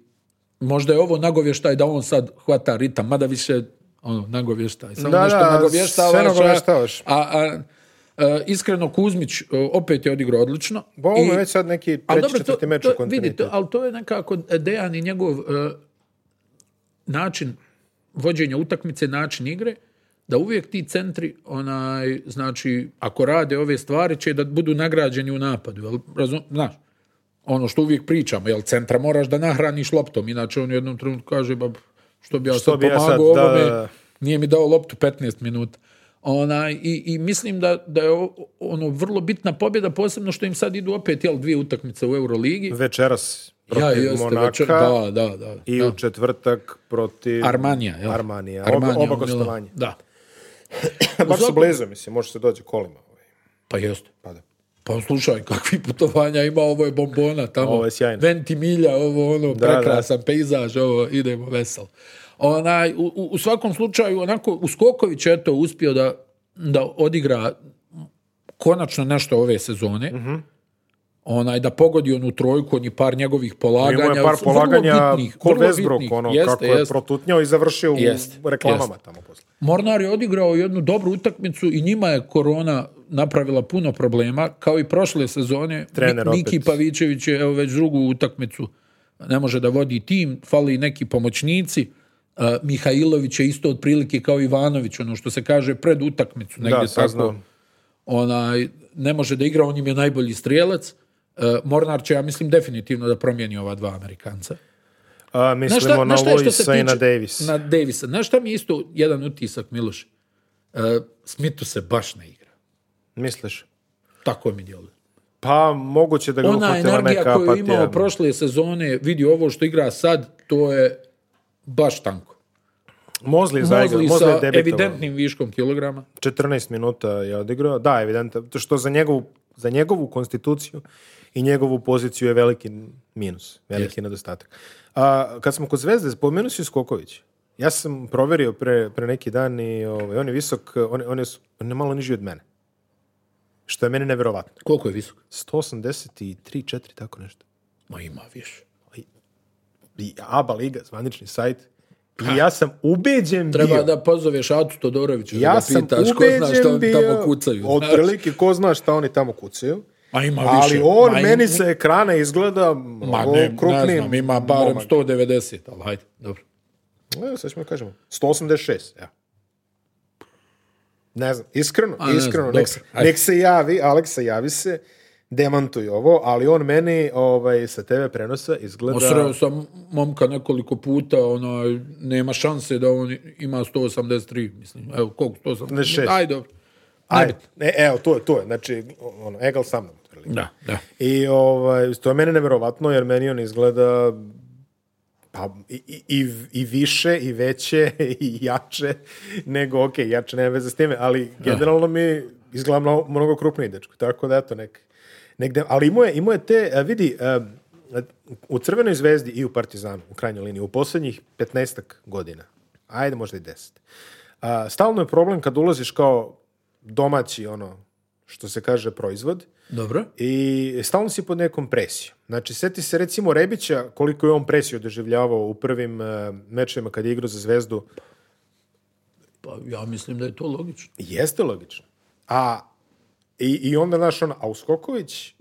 možda je ovo nagovještaj da on sad hvata ritam, mada više ono, nagovještaj. Samo Da, nešto da, nagovještavaš. sve a- nagovještavaš. A, a, e, iskreno, Kuzmić e, opet je odigrao odlično. Bo I- ovo je već sad neki ali treći, četvrti meč u to, vidi, to, kontinuitetu. ali to je nekako Dejan i njegov e, način vođenja utakmice, način igre, da uvijek ti centri, onaj, znači, ako rade ove stvari, će da budu nagrađeni u napadu. Jel, razum, znaš, ono što uvijek pričamo, jel, centra moraš da nahraniš loptom, inače on u jednom trenutku kaže, ba, što bi ja Što sad bi ja pomagao sad, da, ovome, da, da. nije mi dao loptu 15 minuta. Onaj, i, I mislim da, da je o- ono vrlo bitna pobjeda, posebno što im sad idu opet jel, dvije utakmice u Euroligi. Večeras Ja, protiv jeste, Monaka večer- da, da, da. i da. u četvrtak protiv Armanija, jel? Armanija. Armanija, oba, oba u Milanu. gostovanja. Da, Baš su svakom- blizu, mislim, može se doći kolima. ovaj, pa jeste. Pa da. Pa slušaj, kakvi putovanja ima, ovo je bombona tamo. Ovo je sjajno. Ventimilja, ovo ono, Da, prekrasan pejzaž, ovo, idemo veselo. Onaj, u, u- u svakom slučaju, onako, Uskoković je to uspio da, da odigra konačno nešto ove sezone. Mhm. Onaj, da pogodi onu trojku, on je par njegovih polaganja. Pa Imao je par vrlo polaganja bitnih, ko vrlo Westbrook, bitnih. ono, Jeste, kako je jeste. protutnjao i završio Jeste, u reklamama jeste. tamo posle. Mornar je odigrao jednu dobru utakmicu i njima je korona napravila puno problema, kao i prošle sezone. Trener Mi- opet. Miki Pavićević je evo, već drugu utakmicu, ne može da vodi tim, fali neki pomoćnici. E, Mihajlović je isto otprilike kao Ivanović, ono što se kaže pred utakmicu, negdje tako. saznao. Onaj, ne može da igra, on im je najbolji strijelac. E, Mornar će, ja mislim, definitivno da promijeni ova dva Amerikanca. A, Znaš mislimo šta- na znaš šta je što se Luisa i na tiče- Davis. Na Davisa. Znaš šta mi je isto jedan utisak, Miloš? E, Smithu se baš ne igra. Misliš? Tako mi djeluje. Pa moguće da ga Ona uhvatila energija neka koju je apatija. imao prošle sezone, vidi ovo što igra sad, to je baš tanko. Mozli za Mozli Mozli je sa debitovao. evidentnim viškom kilograma. 14 minuta je odigrao. Da, evidentno. To Što za njegovu, za njegovu konstituciju i njegovu poziciju je veliki minus, veliki nedostatak. A, kad smo kod Zvezde, spomenuo si Skoković. Ja sam proverio pre, pre neki dan i ovaj, on je visok, on, on, je, s- on je malo niži od mene. Što je meni nevjerovatno. Koliko je visok? 183, 4, tako nešto. Ma ima više. I ABA Liga, zvanični sajt. I ja sam ubeđen Treba bio... da pozoveš Atu Todorovića da Ja ga sam pitaš ko zna šta ubeđen oni bio, tamo kucaju. znaš. otprilike ko zna šta oni tamo kucaju. Ma ima više. Ali on Ma im- meni sa ekrana izgleda Ma mnogo ne, ne krupnijim znam, ima barem momak. 190, ali hajde, dobro. E, sad ćemo kažemo. 186, evo. Ne znam, iskreno, A, ne znam, iskreno, dobro, nek, se, ajde. nek se javi, Aleksa, javi se, demantuj ovo, ali on meni ovaj, sa TV prenosa izgleda... Osreo sam momka nekoliko puta, ono, nema šanse da on ima 183, mislim, evo, koliko, 186? šest. Ajde, dobro. Ajde, e, evo, to je, to je, znači, ono, egal sa mnom. otprilike. Da, da. I ovaj, to je meni nevjerovatno, jer meni on izgleda pa, i, i- i, i više, i veće, [LAUGHS] i jače, nego, ok, jače nema veze s time, ali generalno mi izgleda mnogo, mnogo krupniji dečko, tako da eto, nek, negde, ali imao je, imao je te, a, vidi, a, a, u Crvenoj zvezdi i u Partizanu, u krajnjoj liniji, u posljednjih 15 godina, ajde možda i 10, a, stalno je problem kad ulaziš kao domaći, ono, što se kaže proizvod. Dobro. I stalno si pod nekom presijom. Znači, seti se recimo Rebića koliko je on presiju doživljavao u prvim e, mečevima kad je igrao za zvezdu. Pa ja mislim da je to logično. Jeste logično. A i, i onda naš on, a Uskoković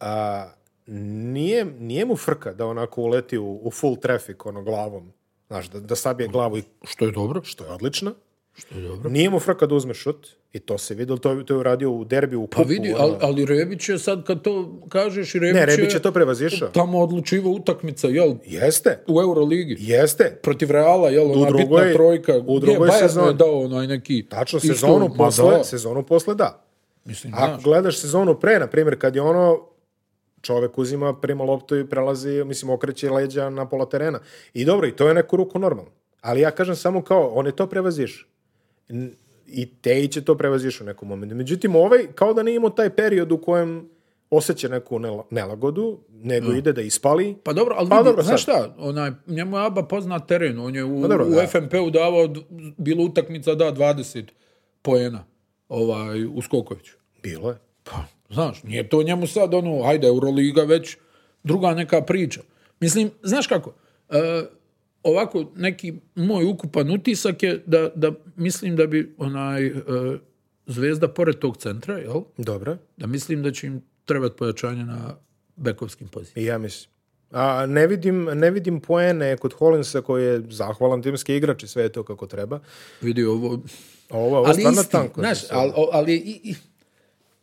a, nije, nije mu frka da onako uleti u, u full traffic ono glavom. Znaš, da, da sabije glavu i Što je dobro. što je odlično. Što je dobro. Nije mu frka da uzme šut i to se vidjelo, to, je- to je uradio u derbiju u Pa kupu. vidi, ono. ali, ali Rebić je sad kad to kažeš i Rebić, Pa- Ne, Rebić je to prevazišao. tamo odlučiva utakmica, jel? Jeste, U Euroligi. jeste. Protiv Reala, jel? Ona drugoj- bitna trojka. u drugoj Gdje je Bayern sezoni. je dao onaj neki... Tačno, isto- sezonu Ma posle, da, sezonu posle da. mislim, Ako znaš. gledaš sezonu pre, na primjer, kad je ono čovek uzima, prima loptu i prelazi, mislim, okreće leđa na pola terena. I dobro, i to je neku ruku normalno. Ali ja kažem samo kao, on je to prevaziš. N- I te će to prevaziš u nekom momentu. Međutim, ovaj, kao da nije imao taj period u kojem osjeća neku nela- nelagodu, nego ide da ispali. Mm. Pa dobro, ali Pa vidi, dobro, znaš sad. šta, onaj, njemu je Aba poznat teren, on je u, Pa dobro, u da. FNP-u davao, d- bilo utakmica da 20 poena ovaj, u Skokoviću. Bilo je. Pa, znaš, nije to njemu sad ono, hajde, Euroliga već druga neka priča. Mislim, znaš kako, e, ovako neki moj ukupan utisak je da, da mislim da bi onaj e, zvezda pored tog centra, jel? Dobro. Da mislim da će im trebati pojačanje na bekovskim pozicijama. I ja mislim. A ne vidim, ne vidim poene kod Hollinsa koji je zahvalan timski igrač i sve je to kako treba. Vidi ovo, A Ovo, ovo je ali Pa stvarno isti, tanko. znaš, ali, ali je i, i-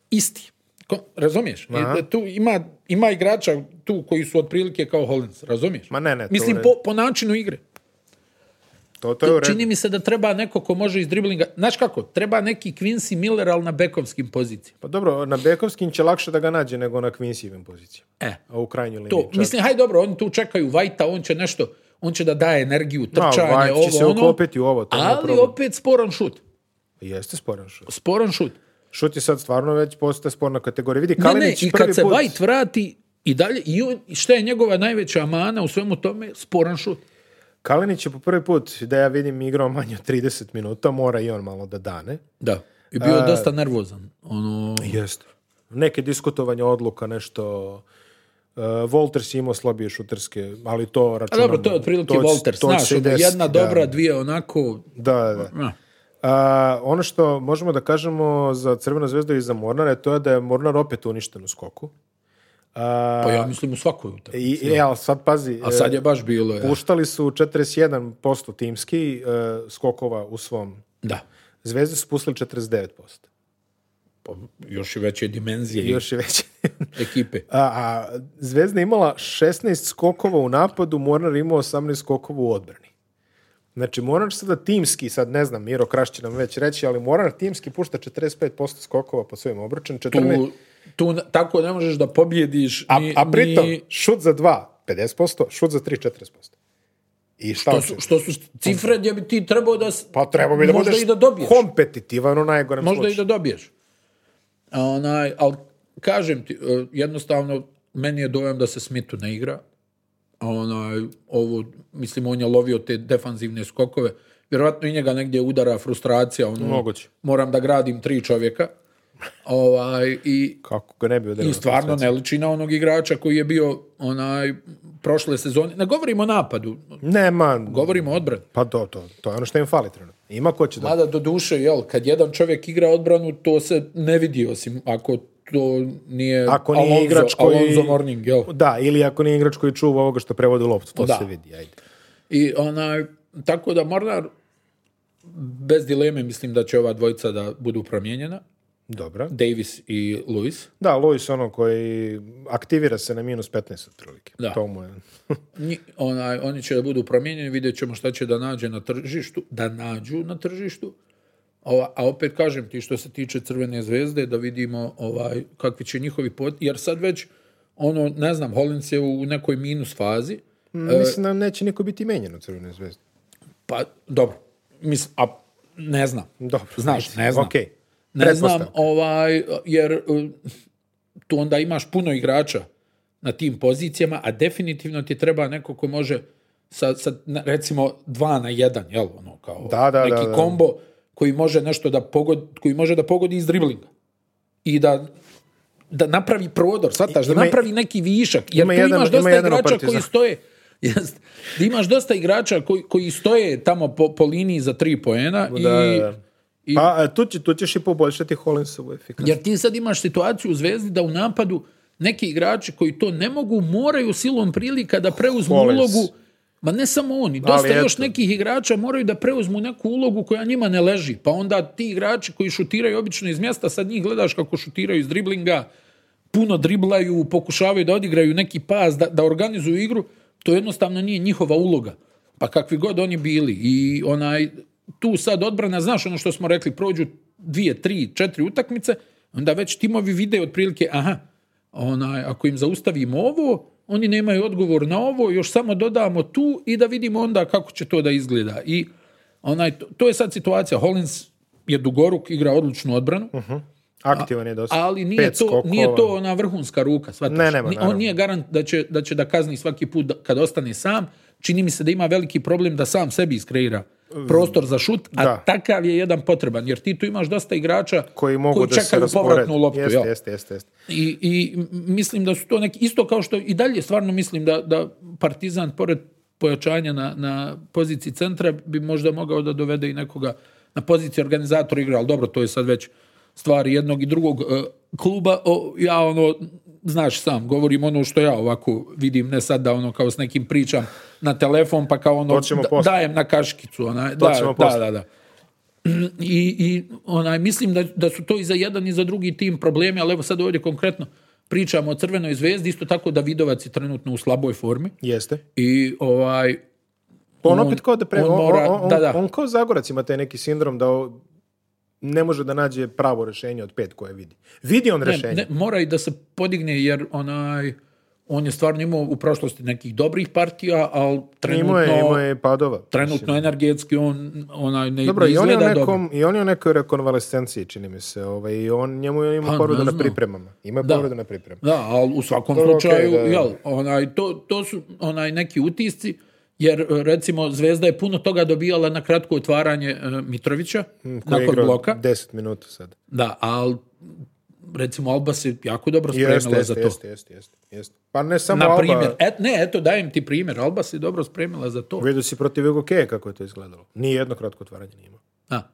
isti. Ko- razumiješ? I da tu ima, ima igrača tu koji su otprilike kao Hollins, razumiješ? Ma ne, ne, to Mislim, u redu. po, po načinu igre. to, to je u redu. Čini mi se da treba neko ko može iz driblinga, znaš kako, treba neki Quincy Miller, ali na bekovskim pozicijama. Pa dobro, na Bekovskim će lakše da ga nađe nego na Quincyjevim pozicijama. E, A u krajnjoj liniji. to, čak. mislim, haj dobro, oni tu čekaju Vajta, on će nešto, on će da daje energiju, trčanje, White će ovo, se ono, uklopiti u ovo, to nema ali problem. opet sporan šut. Jeste sporan šut. Sporan šut. Šut je sad stvarno već postaje sporna kategorija. Vidi, Ne, ne, Kalinić i prvi kad se put... White vrati i dalje, i on, i šta je njegova najveća mana u svemu tome? Sporan šut. Kalinić je po prvi put, da ja vidim, igrao manje od 30 minuta. Mora i on malo da dane. Da. I bio je dosta nervozan. Ono, Jeste. Neke diskutovanje odluka, nešto... Uh, Walters je imao slabije šuterske, ali to a računamo. dobro, to je otprilike će- Walters, to će znaš, se ono, desiti, jedna da. dobra, dvije onako... Da, da, da. na. A, ono što možemo da kažemo za Crvenu zvezdu i za Mornara je to je da je Mornar opet uništen u skoku. A, Pa ja mislim u svakoj utakmici. i, i, e, ali sad pazi, A sad je baš bilo, e, ja. puštali su 41% timski e, skokova u svom. Da. Zvezde su pustili 49%. Pa još i veće dimenzije i Još je veće. ekipe. a, a Zvezda je imala 16 skokova u napadu, Mornar je imao 18 skokova u odbrani. Znači, Mornar sada timski, sad ne znam, Miro Kraš će nam već reći, ali Mornar timski pušta 45% skokova po svojim obračun, 14, Tu, tu na- tako ne možeš da pobjediš A, ni, a pritom, ni- šut za 2, 50%, šut za 3, 40%. I šta to hoćeš? su, što su cifre gdje bi ti trebao da... s- Pa treba bi da možda budeš i da dobiješ. kompetitivan u najgorem Možda i slučaju. da dobiješ. A onaj, ali kažem ti, e, jednostavno, meni je dojam da se Smitu ne igra. A onaj, ovo, mislim, on je lovio te defanzivne skokove. Vjerovatno i njega negdje udara frustracija. Ono, Moguće. Moram da gradim tri čovjeka. Ovaj, i, Kako ga ne bi odelio. i stvarno ne liči na onog igrača koji je bio onaj prošle sezone. Ne govorimo o napadu, Nema, govorimo o odbrani. pa to, to, to je ono što im fali trenutno. Ima ko će da... Mada do duše, jel, kad jedan čovjek igra odbranu, to se ne vidi, osim ako to nije, Ako nije Alonzo, igrač koji... Alonzo Morning, jel? Da, ili ako nije igrač koji čuva ovoga što prevodi loptu, to Da. se vidi, ajde. I onaj, tako da Mornar, bez dileme mislim da će ova dvojica da budu promijenjena, Dobro. Davis i Lewis. Da, Lois ono koji aktivira se na minus 15 otprilike. Da. E, To mu je... Nji- onaj, oni će da budu promijenjeni, vidjet ćemo šta će da nađe na tržištu, da nađu na tržištu. Ova- a opet kažem ti što se tiče Crvene zvezde, da vidimo ovaj, kakvi će njihovi pot, jer sad već, ono, ne znam, Hollins je u nekoj minus fazi, Mm, Mislim da neće niko biti menjen u Crvenoj zvezdi. pa dobro, mislim, a ne znam. Dobro. Znaš, ne znam. Okej. Ne znam, Pretpostavka. ovaj, jer eh, tu onda imaš puno igrača na tim pozicijama, a definitivno ti treba neko ko može sa, sa na- recimo, dva na jedan, jel, ono, kao Da, da, neki da, da. kombo koji može nešto da pogodi, koji može da pogodi iz driblinga. i da da napravi prodor, shvataš, da Ima- napravi neki višak, jer ima tu jedan- imaš ima dosta jedan igrača oportizam. koji stoje. [LAUGHS] Jest. Da imaš dosta igrača koji, koji stoje tamo po, po liniji za tri poena i, Da, da, da. i Pa a, tu, će- tu ćeš i poboljšati Hollinsovu efikasnost. jer ti sad imaš situaciju u Zvezdi da u napadu neki igrači koji to ne mogu moraju silom prilika da preuzmu Collins. ulogu Ma ne samo oni, dosta Ali još eto. nekih igrača moraju da preuzmu neku ulogu koja njima ne leži. Pa onda ti igrači koji šutiraju obično iz mjesta, sad njih gledaš kako šutiraju iz driblinga, puno driblaju, pokušavaju da odigraju neki pas, da, da organizuju igru, to jednostavno nije njihova uloga. Pa kakvi god oni bili. I onaj, tu sad odbrana, znaš ono što smo rekli, prođu dvije, tri, četiri utakmice, onda već timovi vide otprilike, aha, onaj, ako im zaustavimo ovo, oni nemaju odgovor na ovo, još samo dodamo tu i da vidimo onda kako će to da izgleda. I onaj, to, to je sad situacija. Hollins je dugoruk, igra odličnu odbranu, Aktivan je dosta. ali nije Mhm. Pet to, skokova. nije to ona vrhunska ruka, shvataš? Ne, nema, Ni- naravno. on nije garant da će, da će da kazni svaki put da- kad ostane sam. Čini mi se da ima veliki problem da sam sebi iskreira prostor za šut, a Da. takav je jedan potreban, jer ti tu imaš dosta igrača koji mogu da se čekaju rasporede. povratnu loptu. Jeste, jel? jeste, jeste, jeste. I, I mislim da su to neki, isto kao što i dalje stvarno mislim da, da Partizan pored pojačanja na, na poziciji centra bi možda mogao da dovede i nekoga na poziciji organizatora igre, ali dobro, to je sad već stvar jednog i drugog e, kluba. O, ja ono, znaš sam, govorim ono što ja ovako vidim, ne sad da ono kao s nekim pričam na telefon pa kao ono To ćemo da- posle. dajem na kaškicu. Onaj, da, ćemo da, posle. da, da. I, i onaj, mislim da, da su to i za jedan i za drugi tim problemi, ali evo sad ovdje konkretno pričamo o Crvenoj zvezdi, isto tako da Vidovac je trenutno u slaboj formi Jeste. i ovaj... Pa on, opet kao da pre... on On, on, mora- on- da, da. on kao Zagorac ima taj neki sindrom da o- ne može da nađe pravo rješenje od pet koje vidi. Vidi on ne, rješenje. ne, mora i da se podigne jer onaj... On je stvarno imao u prošlosti nekih dobrih partija, ali trenutno, Imao je, imao je padova. trenutno energetski on onaj, ne, Dobro, ne i on, je u izgleda nekom, dobro. i on je u nekoj rekonvalescenciji, čini mi se. Ovaj, i on, njemu je- Pa, ima ne povredu na znam. pripremama. Ima Da. povredu na pripremama. Da, ali u svakom Dobro, okej, slučaju, da, da. jel, onaj, to, to su onaj neki utisci, jer e, recimo Zvezda je puno toga dobijala na kratko otvaranje e, Mitrovića, Hmm, Koji je nakon igrao bloka. 10 minuta sad. Da, ali recimo Alba se jako dobro spremila Jeste, za jeste, to. jeste, jeste, jeste, jeste. Pa ne samo Na Alba. primjer, et, ne, eto, dajem ti primjer, Alba se dobro spremila za to. Vidio si protiv Jugokeje kako je to izgledalo. Ni jedno kratko otvaranje nije imao. Da.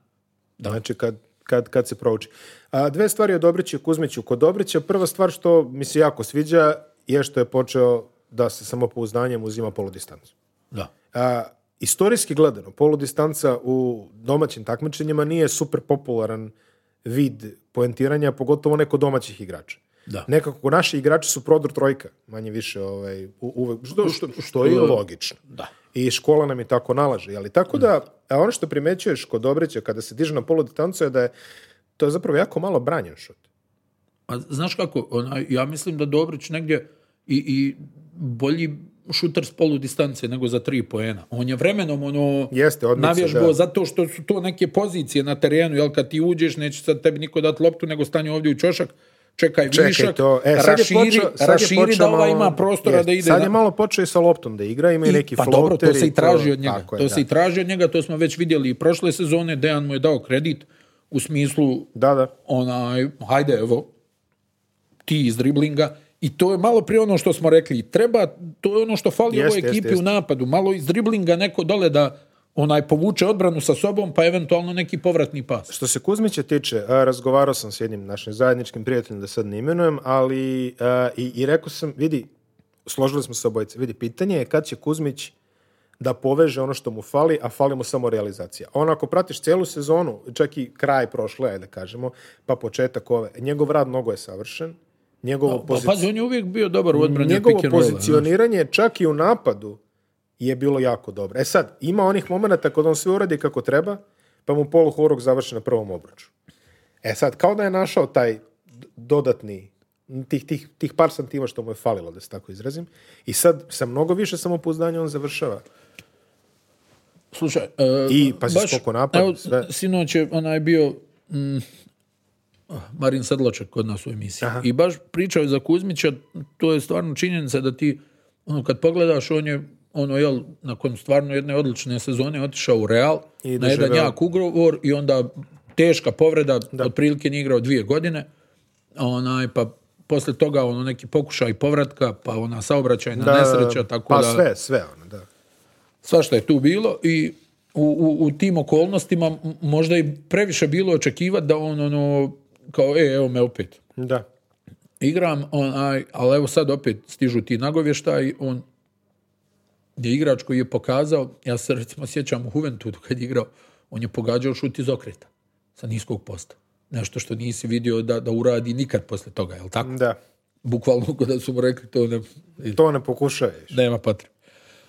Znači kad, kad, kad se prouči. A, dve stvari o Dobriću i Kuzmiću. Kod Dobrića prva stvar što mi se jako sviđa je što je počeo da se samopouzdanjem uzima poludistancu. da. A, istorijski gledano, poludistanca u domaćim takmičenjima nije super popularan vid poentiranja, pogotovo neko domaćih igrača. Da. Nekako naši igrači su prodor trojka, manje više ovaj, u- uvek, što, što, što je logično. Da. I škola nam je tako nalaže. Ali tako da, a ono što primećuješ kod Dobrića kada se diže na poludistancu je da je to je zapravo jako malo branjen šut. A znaš kako, onaj, ja mislim da Dobrić negdje i, i bolji šuter s polu distance nego za tri poena. On je vremenom ono Jeste, odmice, navježbao da. zato što su to neke pozicije na terenu, jel kad ti uđeš neće sad tebi niko dati loptu nego stani ovdje u čošak, čekaj, Čekaj višak, to. E, sad raširi, je počeo, sad je raširi počeo da ovaj malo- ima prostora jest, da ide. Sad je na- malo počeo i sa loptom da igra, ima i, neki pa floater. dobro, to se i i traži od njega. tako je, to da. se i traži od njega, to smo već vidjeli i prošle sezone. Dejan mu je dao kredit u smislu Da, da. onaj, hajde, evo, ti iz driblinga. I to je malo prije ono što smo rekli. Treba, to je ono što fali Jeste, ovoj jeste, ekipi jeste. u napadu. Malo iz driblinga neko dole da onaj povuče odbranu sa sobom, pa eventualno neki povratni pas. Što se Kuzmića tiče, a, razgovarao sam s jednim našim zajedničkim prijateljem, da sad ne imenujem, ali a, i, i rekao sam, vidi, složili smo se obojice, vidi, pitanje je kad će Kuzmić da poveže ono što mu fali, a fali mu samo realizacija. On ako pratiš cijelu sezonu, čak i kraj prošle, ajde da kažemo, pa početak ove, njegov rad mnogo je savršen, njegovo Pa pozici- pazi, on je uvijek bio dobar u odbrani od njegovo pick and rolla, znaš. pozicioniranje čak i u napadu je bilo jako dobro. E sad, ima onih momenata kada on sve uradi kako treba, pa mu polu horog završi na prvom obruču. E sad, kao da je našao taj d- dodatni tih, tih, tih par santiva što mu je falilo, da se tako izrazim. I sad, sa mnogo više samopouzdanja on završava. Slušaj, e, I, pazi, skoko napad, evo, sve. Sinoć je onaj bio mm, Marin Sedlaček kod nas u emisiji. I baš pričao je za Kuzmića, to je stvarno činjenica da ti, ono, kad pogledaš, on je, ono, jel, nakon stvarno jedne odlične sezone otišao u Real, I na jedan doživeo- jak ugovor i onda teška povreda, otprilike nije igrao dvije godine onaj, pa posle toga ono neki pokušaj povratka, pa ona saobraćajna Da, nesreća, tako pa da sve, sve ono, da. svašta je tu bilo i u, u, u tim okolnostima m- možda i previše bilo očekivati da on ono, kao e, evo me opet Da. igram, onaj, ali evo sad opet stižu ti nagovještaji, on je igrač koji je pokazao, ja se recimo sjećam u Juventudu kad je igrao, on je pogađao šut iz okreta sa niskog posta. Nešto što nisi vidio da, da uradi nikad poslije toga, jel tako? Da. Bukvalno ko da su mu rekli to ne, To ne pokušaješ. nema potrebe.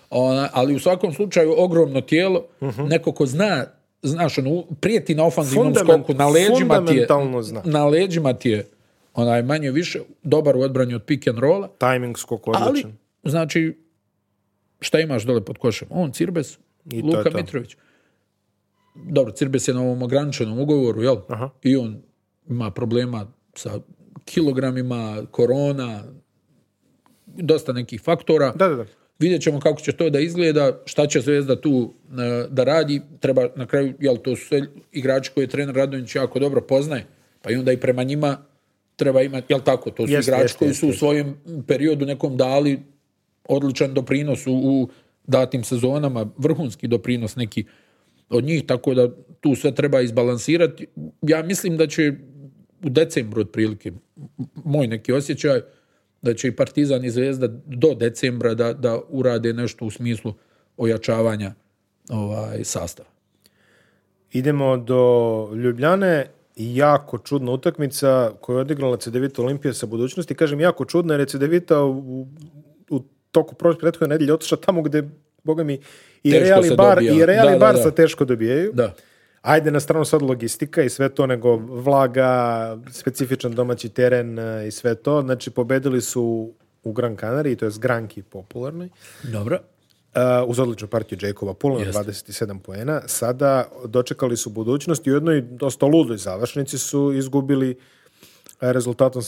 Ona, ali u svakom slučaju ogromno tijelo, Mhm. neko ko zna, znaš, ono, prijeti na ofanzivnom Fundament- skoku, na leđima ti je, fundamentalno zna. na leđima ti je onaj manje više dobar u odbrani od pick and rolla, Timing skok ali odličan. znači šta imaš dole pod košem? On, Cirbes, I to je Luka to. Mitrović. Dobro, Cirbes je na ovom ograničenom ugovoru, jel? Aha. I on ima problema sa kilogramima, korona, dosta nekih faktora. Da, da, da. Vidjet ćemo kako će to da izgleda, šta će Zvezda tu e, da radi. Treba na kraju, jel to su sve igrači koje trener Radonjić jako dobro poznaje, pa i onda i prema njima treba imati, jel tako, to su Jeste, igrači jeste, koji jeste, su u svojem periodu nekom dali odličan doprinos u, u datim sezonama, vrhunski doprinos neki od njih, tako da tu sve treba izbalansirati. Ja mislim da će u decembru otprilike, m- moj neki osjećaj, da će i Partizan i Zvezda do decembra da, da urade nešto u smislu ojačavanja ovaj, sastava. Idemo do Ljubljane. Jako čudna utakmica koju je odigrala Cedevita Olimpija sa budućnosti. Kažem, jako čudna jer je Cedevita u, u toku prošle prethodne nedelje otišla tamo gde, boga mi, i Teško Real i se Bar, dobija. i Real Da, i da, Barca da. teško dobijaju. Da. Ajde na stranu sad logistika i sve to, nego vlaga, specifičan domaći teren e, i sve to. Znači, pobedili su u Gran Canari, to je Granki popularni. Dobro. Uh, uz odličnu partiju Jacoba Pula na 27 poena. Sada dočekali su budućnost i u jednoj dosta ludoj završnici su izgubili uh, rezultatom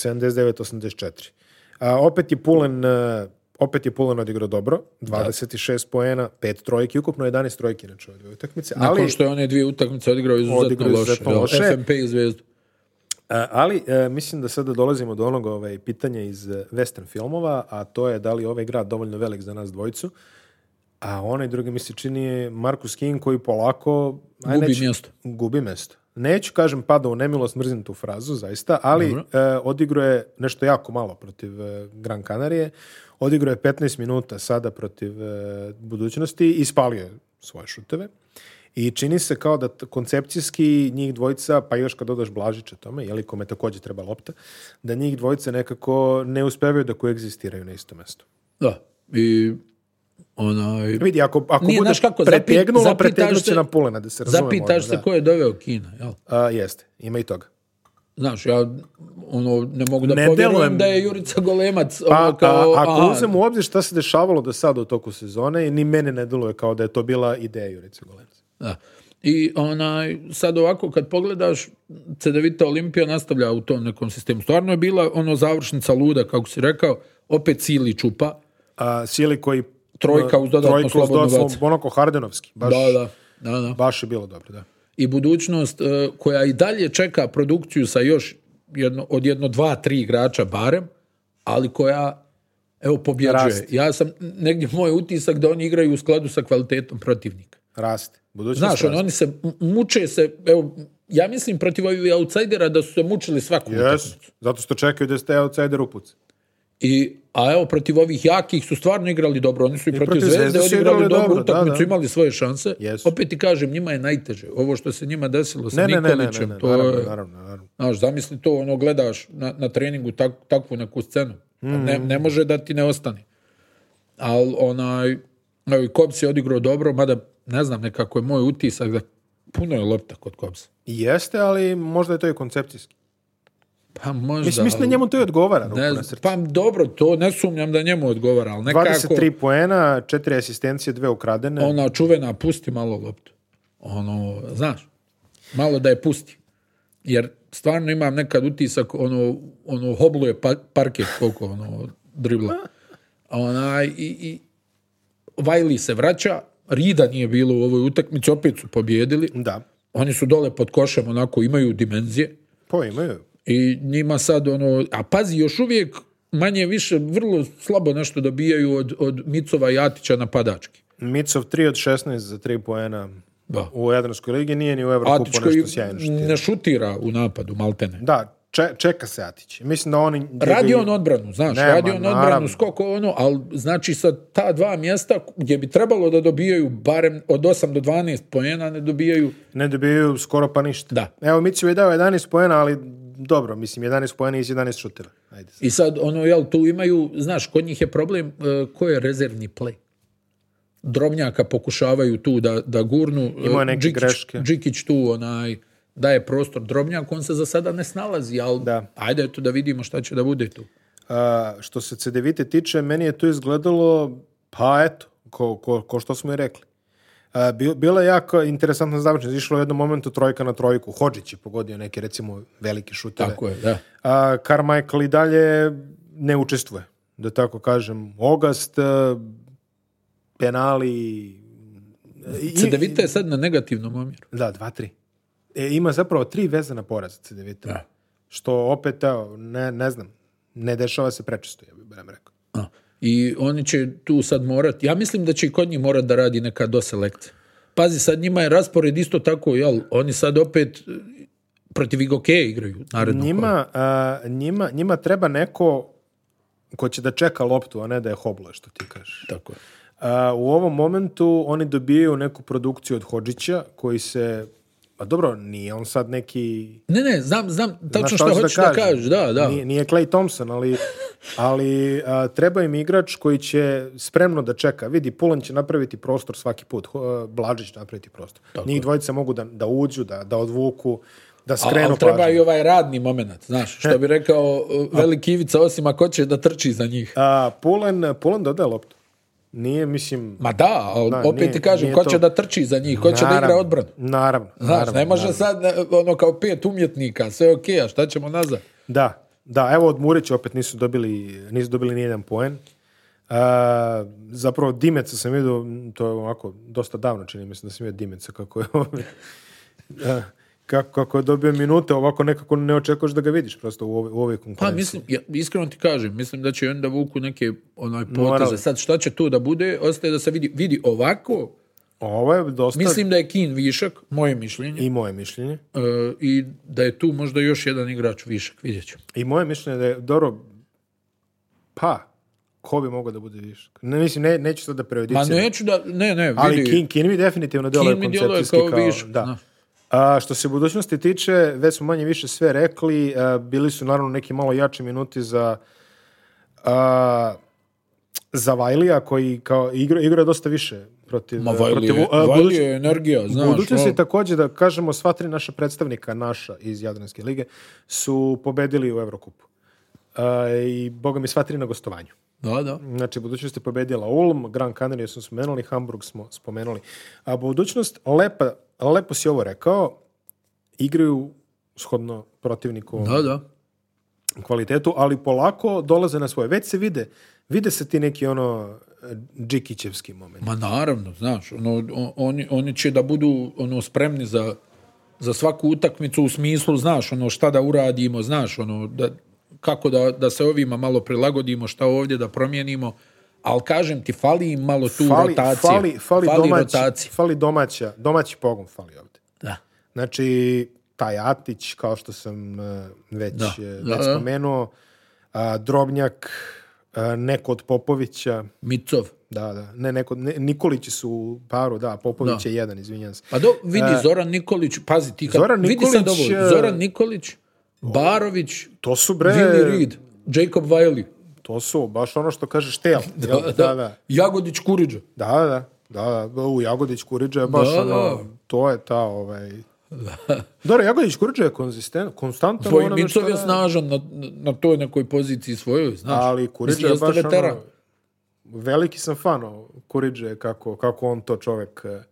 79-84. A, opet je Pulen uh, opet je Pulen odigrao dobro, 26 poena, 5 trojki, ukupno 11 trojki na čove dve utakmice, ali, Nakon što je one dvije utakmice odigrao izuzetno Odigrao loše. izuzetno jel? loše. FMP i Zvezdu. a, ali e, mislim da sada dolazimo do onog ovaj, pitanja iz e, western filmova, a to je da li je ovaj grad dovoljno velik za nas dvojicu, a onaj drugi mi se čini je Markus King koji polako aj, Gubi neću- mjesto. gubi mesto. Neću, kažem, pada u nemilost, mrzim tu frazu, zaista, ali e, odigrao je nešto jako malo protiv e, Gran Canarije. Odigrao je 15 minuta sada protiv e, budućnosti i spalio je svoje šuteve. I čini se kao da t- koncepcijski njih dvojica, pa još kad dodaš Blažića tome, jeli kome također treba lopta, da njih dvojica nekako ne uspevaju da koegzistiraju na istom mestu. Da. I onaj... Vidi, ako, ako Nije, budeš znaš kako, zapi- pretegnulo, zapitaš pretegnut će se- na pulena, da se razumemo. Zapitaš ono, se da. ko je doveo Kina, jel? A, jeste, ima i toga. Znaš, ja ono, ne mogu da Ne povjerujem delujem. da je Jurica Golemac Pa, ono, kao... a, ako aha, uzem u obzir šta se dešavalo do sada u toku sezone, ni mene ne deluje kao da je to bila ideja Jurice Golemca. Da. I onaj, sad ovako kad pogledaš, Cedevita Olimpija nastavlja u tom nekom sistemu. Stvarno je bila ono završnica luda, kako si rekao, opet sili čupa, A, sili koji... Trojka uz dodatno trojka uz slobodno dodatno, bacanje. Onako hardenovski. Baš, da, da, da, da. baš je bilo dobro, da. I budućnost e, koja i dalje čeka produkciju sa još jedno, od jedno dva, tri igrača barem, ali koja evo pobjeđuje. Raste. Ja sam negdje moj utisak da oni igraju u skladu sa kvalitetom protivnika. Raste. Budućnost Znaš, ono, raste. oni se m- muče se, evo, ja mislim protiv ovih outsidera da su se mučili svaku Jes, utakmicu. zato što čekaju da ste outsider upuc. I, a evo, protiv ovih jakih su stvarno igrali dobro. Oni su i, protiv, protiv Zvezde Zvezde su odigrali igrali dobru dobro, da, utakmicu, da. imali svoje šanse. Jesu. Opet ti kažem, njima je najteže. Ovo što se njima desilo sa Ne, ne, ne, ne, ne, Nikolićem, ne, to naravno, je- naravno, naravno. Znaš, zamisli to, ono, gledaš na, na treningu tak, takvu neku scenu. Pa Mm. Ne, ne može da ti ne ostane. Ali, onaj, evo, i Kobs je odigrao dobro, mada, ne znam, nekako je moj utisak da puno je lopta kod Kobsa. I Jeste, ali možda je to i koncepcijski. Pa možda... Mislim, mislim da ali- njemu to i odgovara. ruku Ne na znam, srce. pa dobro, to ne sumnjam da njemu odgovara, ali nekako 23 poena, 4 asistencije, 2 ukradene. ona čuvena pusti malo loptu. Ono, znaš, malo da je pusti. Jer stvarno imam nekad utisak, ono, ono hobluje pa, parket koliko ono dribla. Onaj, i, i Vajli se vraća, Rida nije bilo u ovoj utakmici, opet su pobjedili. Da, Oni su dole pod košem, onako imaju dimenzije. po pa imaju. I njima sad ono, a pazi, još uvijek manje više vrlo slabo nešto dobijaju od, od Micova i Atića napadački. Micov 3 od 16 za 3 poena Da. u Jadranskoj ligi, nije ni u Evrokupu Atić koji nešto sjajno štira. ne šutira u napadu, maltene. Da, če- čeka se Atić. Mislim da oni... Radi on odbranu, znaš, Nema, radi on naravno. odbranu, skoko ono, ali znači sad ta dva mjesta gdje bi trebalo da dobijaju barem od 8 do 12 poena ne dobijaju. Ne dobijaju skoro pa ništa. Da. Evo, Micu je dao 11 poena, ali dobro, mislim, 11 poena iz 11 šutira. Ajde. I sad, ono, jel, tu imaju, znaš, kod njih je problem e, ko je rezervni play. Drobnjaka pokušavaju tu da, da gurnu. e, Imao je neke Džikić, greške. Džikić tu, onaj, daje prostor Drobnjak, on se za sada ne snalazi, ali Da. ajde eto da vidimo šta će da bude tu. A, što se CDVite tiče, meni je to izgledalo, pa eto, ko, ko, ko što smo i rekli. A, bi- bila je jako interesantna završnica. Išlo je u jednom momentu trojka na trojku. Hođić je pogodio neke, recimo, velike šuteve. Tako je, da. A Carmichael i dalje ne učestvuje, da tako kažem. Ogast, e, penali... e, i- Cedevita je sad na negativnom omjeru. Da, dva, tri. E, ima zapravo tri vezana poraza CDVita. Da. Što opet, evo, ne, ne znam, ne dešava se prečisto, ja bih barem rekao. A, I oni će tu sad morati, ja mislim da će i kod njih morati da radi neka doselekcija. Pazi, sad njima je raspored isto tako, jel, oni sad opet e, protiv Igokeja igraju naredno. Njima, a, njima, njima treba neko ko će da čeka loptu, a ne da je hobla, što ti kažeš. Tako je. A, u ovom momentu oni dobijaju neku produkciju od Hodžića koji se, pa dobro, nije on sad neki... Ne, ne, znam, znam tačno Znaš što hoću hoćeš da, kažem? kažeš, da, da. Nije, nije Clay Thompson, ali, ali a, treba im igrač koji će spremno da čeka. Vidi, Pulan će napraviti prostor svaki put, Ho- Blažić će napraviti prostor. Njih dvojica mogu da, da uđu, da, da odvuku, da A- skrenu ali treba pažnju. i ovaj radni moment, znaš, što bi rekao e, veliki Ivica, osim ako hoće da trči za njih. A, Pulen, Pulen dodaje loptu. Nije, mislim... Ma da, ali Da, opet nije- ti kažem, nije ko to- će da trči za njih, ko će da igra naravno, odbranu. Naravno, Znaš, naravno, ne može naravno. sad e, ono kao pet umjetnika, sve okej, a šta ćemo nazad? Da, da, evo od Murića opet nisu dobili, nisu dobili nijedan poen. A, zapravo Dimeca sam vidio, to je onako dosta davno čini mi se da sam vidio Dimeca kako je [LAUGHS] ovaj, a, kako, kako je dobio minute, ovako nekako ne očekuješ da ga vidiš prosto u ovoj, u ovoj Pa konkurenciji. mislim, ja, iskreno ti kažem, mislim da će i onda vuku neke onaj poteze. Morali. Sad šta će tu da bude, ostaje da se vidi, vidi ovako, Ovo je dosta mislim da je Kin višak, moje mišljenje, i moje mišljenje. e, i da je tu možda još jedan igrač višak, vidjet ćemo. I moje mišljenje da je, dobro, pa, ko bi mogao da bude više? Ne, mislim, ne, neću sad da Ma prejudiciram. Pa neću da, ne, ne, vidi. Ali King, King mi definitivno djeluje mi djeluje koncepcijski kao kao... višak, da. da. A, što se budućnosti tiče, već smo manje više sve rekli, a, bili su naravno neki malo jači minuti za a, za Vajlija koji kao igra, igra dosta više protiv... Ma Vajli je, protiv- a, Vajli buduć- je energija, znaš. Budućnost ono. je također da kažemo sva tri naša predstavnika naša iz Jadranske lige su pobedili u Evrokupu. A, I boga mi sva tri na gostovanju. Da, da. Znači, budućnost je pobedila Ulm, Gran Canaria smo spomenuli, Hamburg smo spomenuli. A budućnost, lepa, lepo si ovo rekao, igraju shodno protivniku Da, da. kvalitetu, ali polako dolaze na svoje. Već se vide, vide se ti neki ono e, džikićevski moment. Ma naravno, znaš, ono, o- oni, oni će da budu ono spremni za, za svaku utakmicu u smislu, znaš, ono šta da uradimo, znaš, ono da, kako da, da se ovima malo prilagodimo, šta ovdje da promijenimo, ali kažem ti, fali im malo tu Fali, rotacije. fali, fali, domaći, rotacije. fali domaća, domaći pogon fali ovdje. Da. Znači, taj Atić, kao što sam e, već, e, već da, da. spomenuo, a, Drobnjak, a, neko od Popovića, Micov. Da, da. Ne, neko, ne, Nikolići su u paru, da, Popović je jedan, izvinjam se. Pa do, vidi, Zoran Nikolić, pazi ti, kad, E. Zoran vidi sad Nikolić, ovo, e, Zoran Nikolić, Barović, To su bre, Willie E. Reed, Jacob Wiley, to su baš ono što [LAUGHS] kažeš tel. jel? da, da, da, Jagodić Kuriđa. da, da, da, u Jagodić Kuriđa je baš Da, ono, da. to je ta, ovaj... Dobro, Jagodić Kuriđa je konzisten, konstantan. u Tvoj onome što Micov je radi, snažan na, na toj nekoj poziciji svojoj, znaš. Ali Kuriđa Mislim, je jeste baš veteran. ono... Veliki sam fan o Kuriđe, kako, kako on to čovek eh,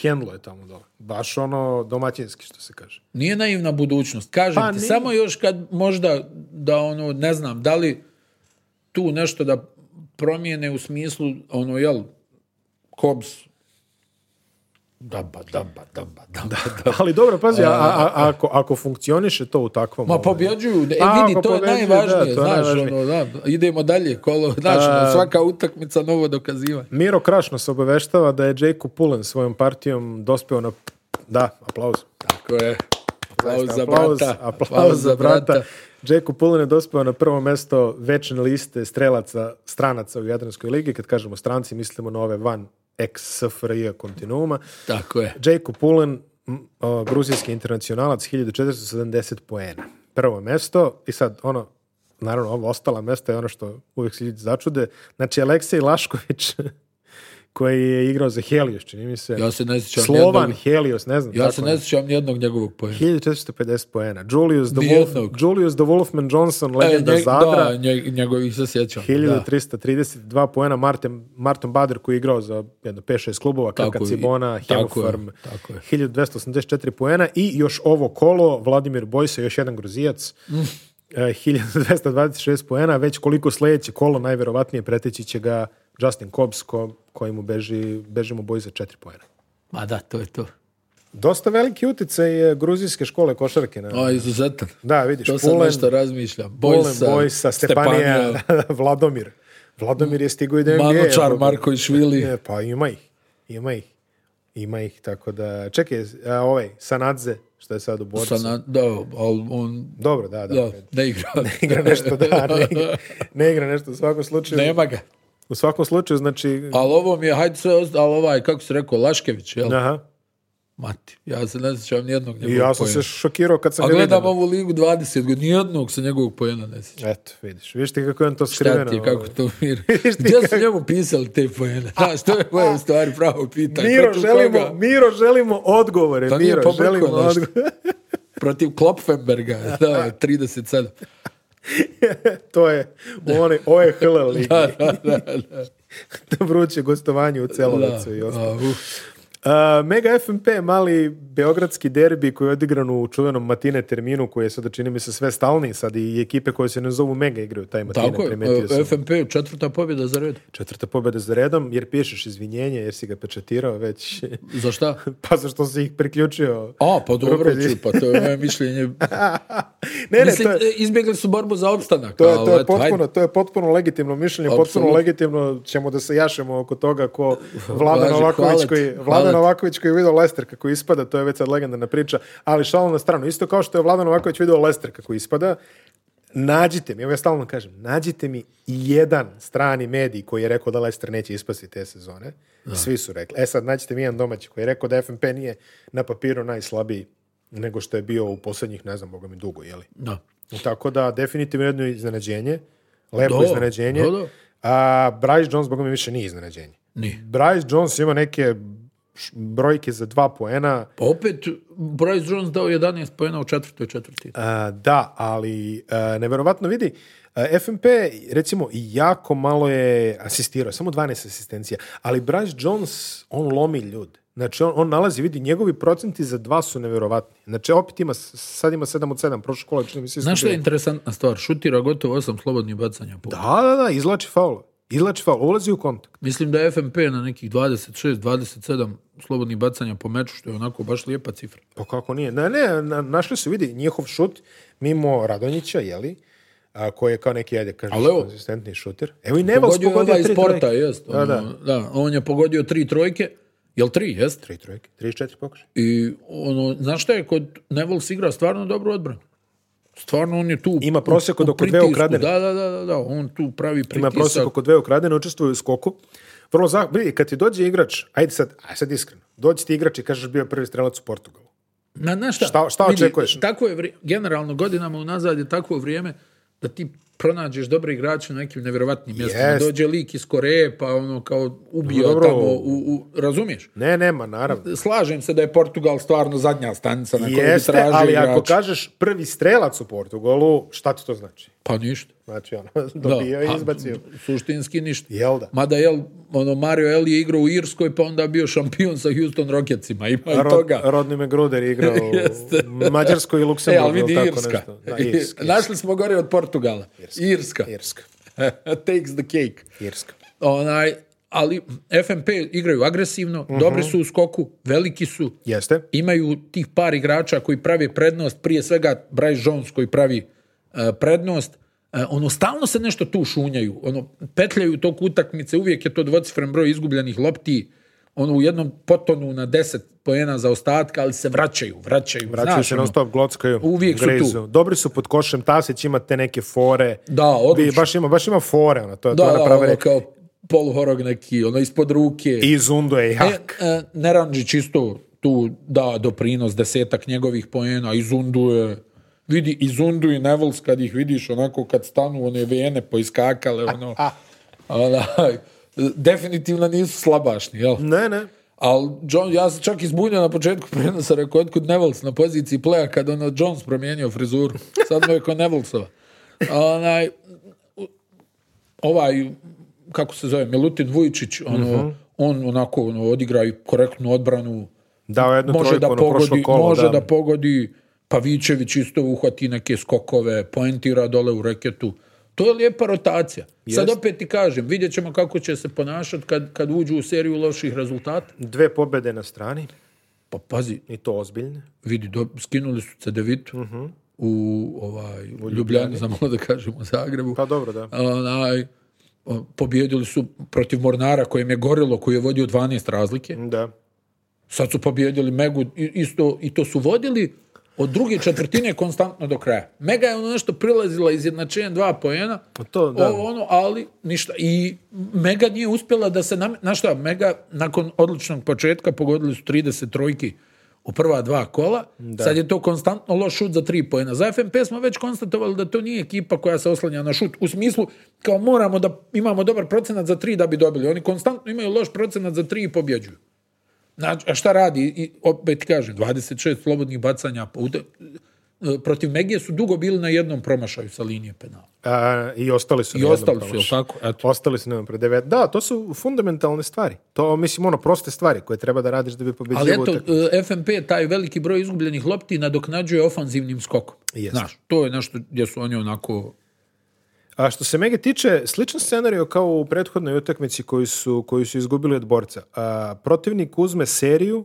hendluje tamo dole. Baš ono domaćinski, što se [LAUGHS] kaže. Nije naivna budućnost. Kažem Pa, ti, nije. samo još kad možda da ono, ne znam, da li tu nešto da promijene u smislu, ono, jel, Kobs, Daba, daba, daba, daba. Ali dobro, pazi, a, a- a- ako, ako funkcioniše to u takvom... Eh. Ma ovaj, pobjeđuju, e, A, vidi, ako to je pobjeđuju, najvažnije, da, to je znaš, najvažnije. ono, da, idemo dalje, kolo, znaš, ono, svaka utakmica, novo dokazivanje. Miro Kraš nas obaveštava da je Jacob Pullen svojom partijom dospeo na... Da, aplauz. Tako je. Aplauz za Aplauz, brata. aplauz za brata. Jacob Pullen je dospeo na prvo mesto večne liste strelaca, stranaca u Jadranskoj ligi. Kad kažemo stranci, mislimo na ove van ex-SFRJ kontinuuma. Tako je. Jacob Pullen, m, o, gruzijski internacionalac, 1470 poena. Prvo mesto i sad ono, naravno ovo ostala mesta je ono što uvijek se ljudi začude. Znači Aleksej Lašković [LAUGHS] koji je igrao za Helios, čini mi se. Ja se ne sjećam Slovan, nijednog- Helios, ne znam. Ja tako se ne sjećam nijednog njegovog pojma. 1450 poena. Julius the, Nijednog. Wolf, Julius the Wolfman Johnson, E, legenda nje- Zadra. Da, nje- njegovih se sjećam. da. 1332 poena Martin, Martin Bader koji je igrao za jedno 5-6 klubova, Kaka Tako je, Cibona, tako je, Hemofarm, tako je. 1284 poena i još ovo kolo, Vladimir Bojsa, još jedan gruzijac, Mm. e, 1226 poena, već koliko sledeće kolo, najverovatnije preteći će ga Justin Cobbs, ko, koji mu beži, beži mu boj za 4 poena. Ma da, to je to. Dosta veliki utjecaj e, gruzijske škole košarke. Na, O, izuzetan. da, vidiš, To sam Pulen- nešto razmišljam. Bojsa, Bojsa, Bojsa Stepanija, [LAUGHS] Vladomir. Vladomir je stigo i do NBA. Manočar, Vladomir. Markovišvili. E, Pa ima ih, ima ih. Ima ih, tako da... Čekaj, a, ovaj, Sanadze, što je sad u borcu. Sa na- da, ali on Dobro, da, da. [LAUGHS] da, ne igra. Igra nešto, da, ne igra, ne igra nešto u svakom slučaju. [LAUGHS] Nema ga. U svakom slučaju, znači... Ali ovo mi je, hajde sve, osta- ali ovaj, kako se rekao, Laškević, jel? Aha. Mati, ja se ne sjećam nijednog I njegovog ja sam pojena. se šokirao kad sam A ga gledam vidio. ovu ligu 20 godina, nijednog se njegovog pojena ne sjećam. Eto, vidiš. Vidiš ti kako je on to skriveno. Šta ti, kako ovaj. to mir? [LAUGHS] Vidiš ti Gdje su kako- njemu pisali te [LAUGHS] pojene? Znaš, to je moje u stvari pravo pitanje. Miro, Protiv želimo, koga? Miro, želimo odgovore. To nije Miro, pobrkao želimo nešto. odgovore. [LAUGHS] Protiv Klopfenberga, da, 37. to je u one OHL ligi. Da, da, da. da. [LAUGHS] da vruće gostovanje u Celovacu i da. ostalo. A, uf. A, Mega FMP, mali beogradski derbi koji je odigran u čuvenom matine terminu koji je sada čini mi se sve stalni sad i ekipe koje se ne zovu Mega igraju taj matine, Tako je, primetio sam. e, FNP četvrta pobjeda za red. Četvrta pobjeda za redom jer pišeš izvinjenje jer si ga pečatirao već [LAUGHS] Za šta? pa zašto si ih priključio. A, pa dobro Grupe- ću, pa to je moje [LAUGHS] mišljenje. ne, ne, Mislim, to je, e, izbjegli su borbu za opstanak. to je, ali to je eto, hajde. potpuno, to je potpuno legitimno mišljenje, potpuno Apsolutno. legitimno ćemo da se jašemo oko [LAUGHS] toga ko Vladan Važi, hvala Novaković ti, koji, hvala Vladan ti. Novaković koji je video Lester kako ispada, to je već sad legendarna priča, ali šalom na stranu, isto kao što je Vladan Novaković video Lester kako ispada, nađite mi, evo ja stalno kažem, nađite mi jedan strani medij koji je rekao da Lester neće ispasti te sezone, svi su rekli. E sad, nađite mi jedan domaći koji je rekao da FNP nije na papiru najslabiji nego što je bio u posljednjih, ne znam, boga mi dugo, jeli? Da. Tako da, definitivno jedno iznenađenje. Lepo Da, iznenađenje. da, da. A Bryce Jones, boga mi, više nije iznenađenje. Nije. Bryce Jones ima neke š- brojke za dva poena. e, Pa opet, Bryce Jones dao 11 pojena u četvrtoj četvrti. A, da, ali a, neverovatno vidi, e, a, FNP, recimo, jako malo je asistirao, samo 12 asistencija, ali Bryce Jones, on lomi ljud. Znači, on, on nalazi, vidi, njegovi procenti za dva su neverovatni. Znači, opet ima, s- sad ima 7 od 7, prošle kola, čini mi se Znaš što izgubio. je interesantna stvar? Šutira gotovo osam slobodnih bacanja. po. Da, da, da, izlači faul. Izlači faul, ulazi u kontakt. Mislim da je FNP na nekih 26-27 slobodnih bacanja po meču, što je onako baš lijepa cifra. Pa kako nije? Ne, ne, na- našli su, vidi, njihov šut mimo Radonjića, jeli? A, koji je kao neki, ajde, kažeš, Ali evo- konzistentni šuter. Evo i Nevels Pogodio Pa pogodio, je ovaj iz tri sporta, trojke. jest. Da, da. ono, da, on je pogodio tri trojke. Jel tri, jest? Tri trojke, tri iz četiri pokušaja. I ono, znaš šta je, kod Nevels igra stvarno dobru odbranu. Stvarno on je tu Ima prosjek u- od u oko dve pritisku. ukradene. Da, da, da, da, da, on tu pravi Ima pritisak. prosjek oko dve ukradene, učestvuju u skoku. Vrlo zah... Vidi, kad ti dođe igrač, ajde sad, aj sad iskreno, dođe ti igrač i kažeš bio je prvi strelac u Portugalu. Na, znaš šta, Šta- šta očekuješ? Tako je, vri- generalno godinama unazad je takvo vrijeme da ti pronađeš dobre igrače na nekim nevjerovatnim mjestima. Jest. Dođe lik iz Koreje pa ono kao ubio Dobro. tamo, u, u- razumiješ? Ne, nema, naravno. Slažem se da je Portugal stvarno zadnja stanica na kojoj bi Jeste, tražio ali igrače. ako kažeš prvi strelac u Portugalu, šta ti to znači? Pa ništa. Znači, ono, [LAUGHS] Da, dobio i a, izbacio. Suštinski ništa. Jel da? Mada jel, ono, Mario Eli je igrao u Irskoj, pa onda bio šampion sa Houston Rocketsima. Ima i Rod- toga. Rodni McGruder [LAUGHS] je igrao Jeste. u Mađarskoj i E, Luksemburgu. ali vidi ili tako Irska. nešto. Da, [LAUGHS] Irska. Našli smo gore od Portugala. Irska. [LAUGHS] Irska. Takes the cake. Irska. Onaj, ali FNP igraju agresivno, Mhm. dobri su u skoku, veliki su, Jeste. imaju tih par igrača koji prave prednost, prije svega Bryce Jones koji pravi e, prednost, E, ono, stalno se nešto tu šunjaju, ono, petljaju tok utakmice, uvijek je to dvocifren broj izgubljenih lopti, ono, u jednom potonu na 10 poena za ostatka, ali se vraćaju, vraćaju, Vraćaju znaš, se ono. non stop, glockaju. Uvijek su tu. grizu. Dobri su pod košem, Tasić ima te neke fore. Da, odlično. Vi- Baš ima, baš ima fore, ona, to je da, to ona da, prava ono, reč. kao poluhorog neki, ono, ispod ruke. I Zundo je E, jak. e, Neranđić isto tu da doprinos desetak njegovih poena i Zundu je vidi i Zundu i Nevels kad ih vidiš onako kad stanu one vene poiskakale ono, onaj, definitivno nisu slabašni jel? Ne, ne. Ali John, ja se čak izbunio na početku [LAUGHS] prenosa, rekao, otkud Nevels na poziciji pleja kad ono Jones promijenio frizuru. Sad mu je ko Nevelsova. A Onaj, u- ovaj, kako se zove, Milutin Vujčić, ono, Mhm. on onako ono, odigra i korektnu odbranu, Dao je jednu može trojku, da ono, prošlo pogodi, kolo. može da. da. pogodi, Pavićević isto uhvati neke skokove, poentira dole u reketu. To je lijepa rotacija. Sad Jest. opet ti kažem, vidjet ćemo kako će se ponašati kad, kad uđu u seriju loših rezultata. Dve pobede na strani, Pa pazi, i to ozbiljne. vidi, do, skinuli su Cedevitu u, ovaj, u Ljubljani, za malo da kažem, u Zagrebu. Pa dobro, da. Onaj, o, pobjedili su protiv Mornara kojem je gorilo, koji je vodio 12 razlike. Da. Sad su pobjedili Megu i- isto, i to su vodili od druge četvrtine konstantno do kraja. Mega je ono nešto prilazila izjednačenjem dva poena, Pa to, da. ovo, ono, ali ništa. I Mega nije uspjela da se... nam- Znaš šta, Mega nakon odličnog početka pogodili su 30 trojki u prva dva kola. Sad je to konstantno loš šut za tri pojena. Za FNP smo već konstatovali da to nije ekipa koja se oslanja na šut. U smislu, kao moramo da imamo dobar procenat za tri da bi dobili. Oni konstantno imaju loš procenat za tri i pobjeđuju. Znači, a šta radi? I, opet kažem, 26 slobodnih bacanja. po uta- Protiv Megije su dugo bili na jednom promašaju sa linije penala. A, I ostali su. I na jednom ostali su, talošu. jel tako? Eto. Ostali su na jednom pre devet. Da, to su fundamentalne stvari. To, mislim, ono, proste stvari koje treba da radiš da bi pobedio Ali eto, utakmicu. e, FNP taj veliki broj izgubljenih lopti nadoknađuje ofanzivnim skokom. Jeste. Znaš, to je nešto gdje su oni onako... A što se Mege tiče, sličan scenario kao u prethodnoj utakmici koju su, koju su izgubili od borca. A, protivnik uzme seriju,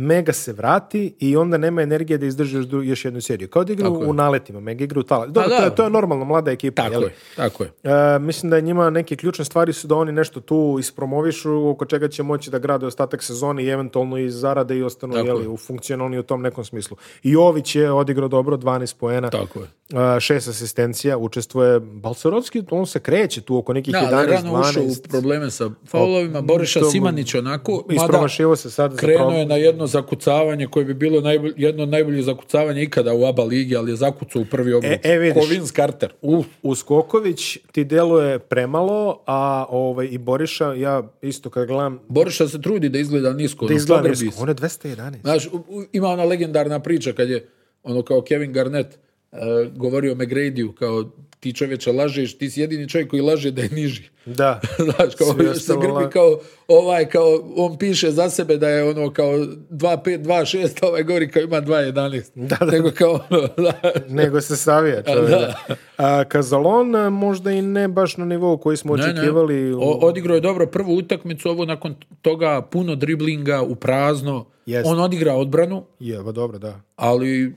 Mega se vrati i onda nema energije da izdrži još, dru- još jednu seriju. Kao da igra u naletima, Mega igra u talatima. Dobro, to, Pa da. je, to je normalno, mlada ekipa. Tako jeli? je, tako je. E, mislim da je njima neke ključne stvari su da oni nešto tu ispromovišu oko čega će moći da grade ostatak sezone i eventualno i zarade i ostanu Tako jeli, je. u funkcionalni u tom nekom smislu. I Jović je odigrao dobro 12 poena. Tako je. e, šest asistencija, učestvuje Balcerovski, on se kreće tu oko nekih Da, ali 11, rano ušao 12. u probleme sa faulovima. Boriša to mu- Simanić onako, mada Ispromašivo se sad za krenuo prom- je na jedno zakucavanje koje bi bilo najbolj- jedno od najboljih zakucavanja ikada u ABA ligi, ali je zakucao u prvi obruk. E, e, vidiš. Kovins Carter. Uf, Uskoković ti deluje premalo, a ovaj, i Boriša, ja isto kad gledam, Boriša se trudi da izgleda nisko. da ono, izgleda Faberbis. nisko. On je 211. Znaš, u- u- ima ona legendarna priča kad je, ono kao Kevin Garnett e, govorio McGradyu, kao ti čovječe lažeš, ti si jedini čovjek koji laže da je niži. [LAUGHS] Da. Znaš, kao, Svi još se ostalo grbi la- kao, ovaj, kao, on piše za sebe da je ono kao 2.5, 2.6, a ovaj govori kao ima 2.11. Nego kao, [LAUGHS] ono, znaš, nego se [LAUGHS] savija čovjek. da. A Kazalon e, možda i ne baš na nivou koji smo Ne, ne. očekivali. u- O- odigrao je dobro prvu utakmicu, ovo nakon toga puno driblinga u prazno. Jeste. On odigra odbranu, Je, ba dobro, da. ali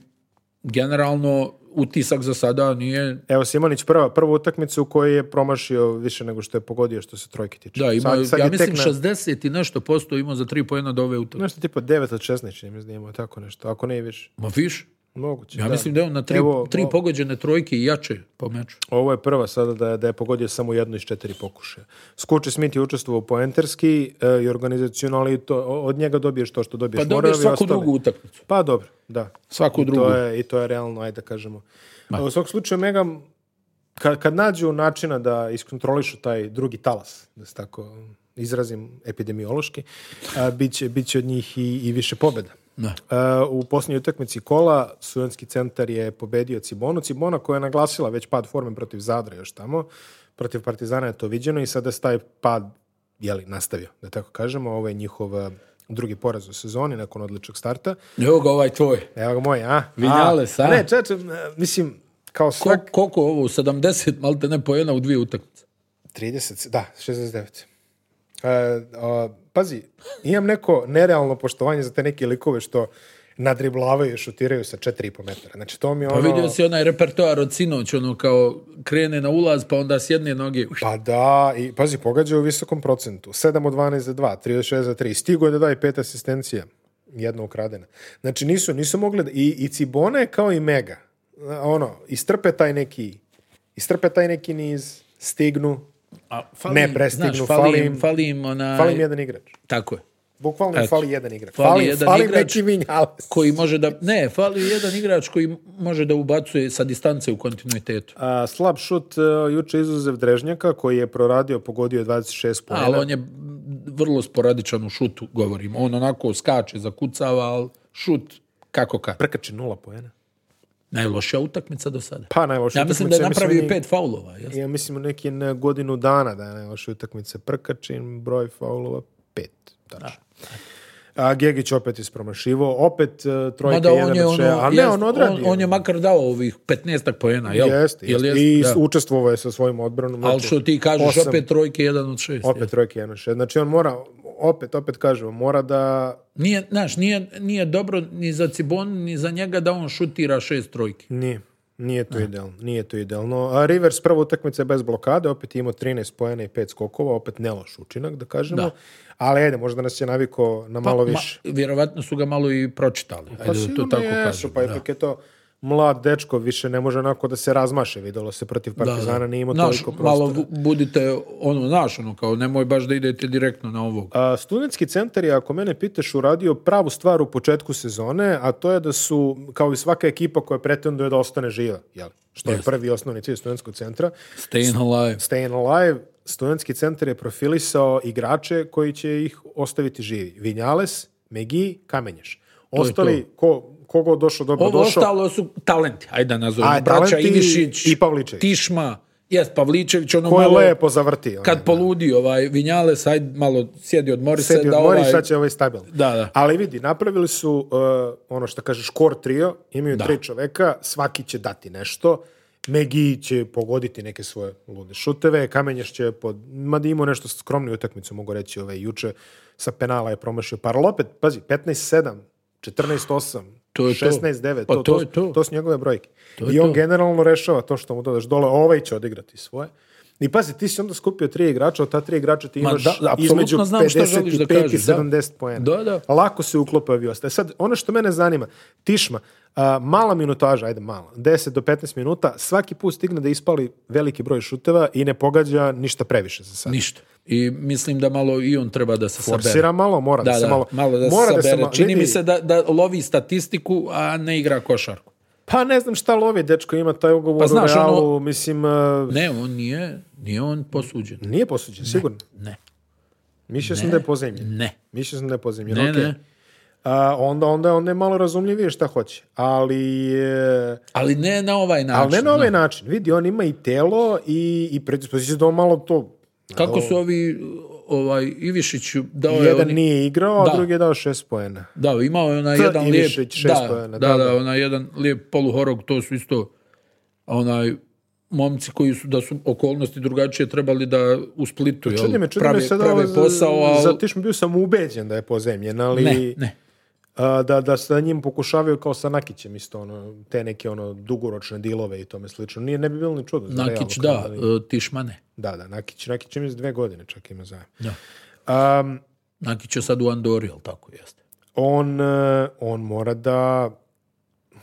generalno utisak za sada nije Evo Simonić prva, prvu utakmicu u kojoj je promašio više nego što je pogodio što se trojke tiče. Da, ima, Sad- sad ja je tek mislim na- 60 i nešto posto imao za tri pojena do ove utakmice. Nešto tipa 9 od 16, čini mi se da imao tako nešto, ako ne i više. Ma viš, Moguće, ja da. mislim da je on na tri, Evo, tri o- pogođene trojke i jače po meču. Ovo je prva sada da, da je pogodio samo jednu iz četiri pokušaja. Skuči Smith je učestvovao poenterski e, i organizacionalno, ali to, o- od njega dobiješ to što dobiješ. Pa dobiješ Moravi svaku ostali. drugu utakmicu. Pa dobro, da. Svaku I drugu. To je, I to je realno, ajde da kažemo. U svakom slučaju, Mega, kad, kad nađu načina da iskontrolišu taj drugi talas, da se tako izrazim epidemiološki, a, bit, će, bit će od njih i, i više pobjeda. Da. A, u posljednjoj utakmici kola Sujanski centar je pobedio Cibonu. Cibona koja je naglasila već pad forme protiv Zadra još tamo, protiv Partizana je to viđeno i sada se taj pad jeli, nastavio, da tako kažemo. Ovo je njihov a, drugi poraz u sezoni nakon odličnog starta. Evo ga ovaj tvoj. Evo ga moj, a? Vinales, a? Ne, čeče, mislim, kao Ko, svak... koliko ovo, 70 malte ne pojena u dvije utakmice. 30, da, 69. E, a, pazi, imam neko nerealno poštovanje za te neke likove što nadriblavaju i šutiraju sa 4,5 metara. Znači, to mi je Pa ono... vidio si onaj repertoar od sinoć, ono kao krene na ulaz, pa onda s jedne noge... uš, Pa da, i pazi, pogađa u visokom procentu. 7 od 12 za 2, 36 za 3. Stigo je da da i pet asistencija. Jedna ukradena. Znači nisu, nisu mogli da, i, i Cibona je kao i Mega. A, Ono, istrpe taj neki, istrpe taj neki niz, stignu, A, Ne prestignu, znaš, fali falim, im- falim, onaj... fali im jedan igrač. Tako je. Bukvalno im Eto. fali jedan igrač. Fali Fali, jedan fali igrač neki Vinjales. Koji može da... Ne, fali jedan igrač koji može da ubacuje sa distance u kontinuitetu. A, slab e, šut uh, juče izuzev Drežnjaka koji je proradio, pogodio je 26 A, ali pojena. on je vrlo sporadičan u šutu, govorim. On onako skače, zakucava, ali šut kako kad. Prkači nula pojena. Najlošija utakmica do sada. Pa najlošija Ja mislim da je utakmica, ja mislim napravio da je- pet faulova. Jes? Ja mislim u neki na godinu dana da je najloša utakmica Prkačin, broj faulova pet. Tačno. A Gegić opet ispromašivo, opet uh, trojka Mada jedan on je, od ono, šeja. A ne, jest, on odradio. on je makar dao ovih 15 pojena, jel? Jeste, Jel jeste. jest? I Da. učestvovao je sa svojim odbranom. Ali Znači, što ti kažeš, osam, opet trojke, jedan od šest. Opet trojka jedan od šest. Znači on mora, opet, opet kažemo, mora da... Nije, znaš, nije, nije dobro ni za Cibon, ni za njega da on šutira šest trojki. Nije. Nije to idealno, nije to idealno. A Rivers prva utakmica bez blokade, opet je imao 13 pojena i 5 skokova, opet neloš učinak, da kažemo. Da. Pa, Ali ajde, možda nas je naviko na malo više. Ma, vjerovatno su ga malo i pročitali. Pa Ajde, da to sigurno tako jesu, kažem. pa da. ipak je to mlad dečko, više ne može onako da se razmaše, videlo se protiv Partizana, nije imao Znaš, toliko prostora. malo bu- budite, ono, znaš, ono, kao nemoj baš da idete direktno na ovog. A, studentski centar je, ako mene pitaš, uradio pravu stvar u početku sezone, a to je da su, kao i svaka ekipa koja pretenduje da ostane živa, jel? što je prvi i osnovni cilj studentskog centra, Staying alive. Stayin' Alive, studentski centar je profilisao igrače koji će ih ostaviti živi. Vinjales, Megi, Kamenješ. je Ostali, ko, ko god došao, dobro Ovo Pa došao. ostalo su talenti, ajde da nazovemo. A, Braća talenti Ivišić, i Pavličević. Tišma, jes, Pavličević, ono Ko je malo... lepo zavrti. ono. onaj, Kad da. poludi ovaj Vinjales, ajde malo sjedi odmori se. sedi da odmori, ovaj... sad će ovaj stabilno. Da, da. Ali vidi, napravili su uh, ono što kažeš, core trio, imaju tri čoveka, svaki će dati nešto, Megi će pogoditi neke svoje lude šuteve, Kamenjaš će, pod, mada imao nešto skromniju utakmicu, mogu reći, ove juče, sa penala je promašio par, ali opet, pazi, 15-7, 14-8, To je to. 16-9, Pa to to, to, je to. to su njegove brojke. je I on to. generalno rešava to što mu dodaš dole, ovaj će odigrati svoje. I pazi, ti si onda skupio tri igrača, od ta tri igrača ti Ma imaš da, da, apsolutno između znam šta želiš da 55 i kažeš, da. 70 poena. Da, da. Lako se uklope ovi ostaje. Sad, ono što mene zanima, Tišma, a, mala minutaža, ajde mala, 10 do 15 minuta, svaki put stigne da ispali veliki broj šuteva i ne pogađa ništa previše za sad. Ništa. I mislim da malo i on treba da se Forsira sabere. malo, mora da, Da, se da, malo... malo da se mora sabere. malo- Čini mi vidi, se da, da lovi statistiku, a ne igra košarku. Pa ne znam šta lovi, dečko ima taj ugovor Pa znaš, u Realu, ono- mislim... a, Ne, on nije, nije on posuđen. Nije posuđen, sigurno. Ne, Mišlja sam da je pozemljen. ne. Mišlja sam da je pozemljen, Ne, okej. ne. A, onda, onda, onda je malo razumljivije šta hoće. Ali... e, Ali ne na ovaj način. Ali ne na znaš. ovaj način. Vidi, on ima i telo i, i predispoziciju da on malo to... Kako su ovi ovaj Ivišiću dao je Jedan oni- nije igrao, Da. a drugi je dao šest poena. da, imao je onaj T. jedan lijep Ivišić, šest da, pojena, da, da, da, da. onaj jedan lijep poluhorog, to su isto onaj momci koji su da su okolnosti drugačije trebali da u Splitu jel, Pa Čudi me, čudi prave, me sad prave ovo, za- posao, ali za Tišmu bio sam ubeđen da je pozemljen, ali ne, ne. a, da, da sa njim pokušavaju kao sa Nakićem isto, ono, te neke ono dugoročne dilove i tome slično. Nije, ne bi bilo ni čudo. za Nakić Real, da, ali- e, Tišma ne. Da, da, Nakić, Nakić ima iz dve godine čak ima zajem. Da. Am, Nakić je sad u Andori, jel tako jeste? on, e, on mora da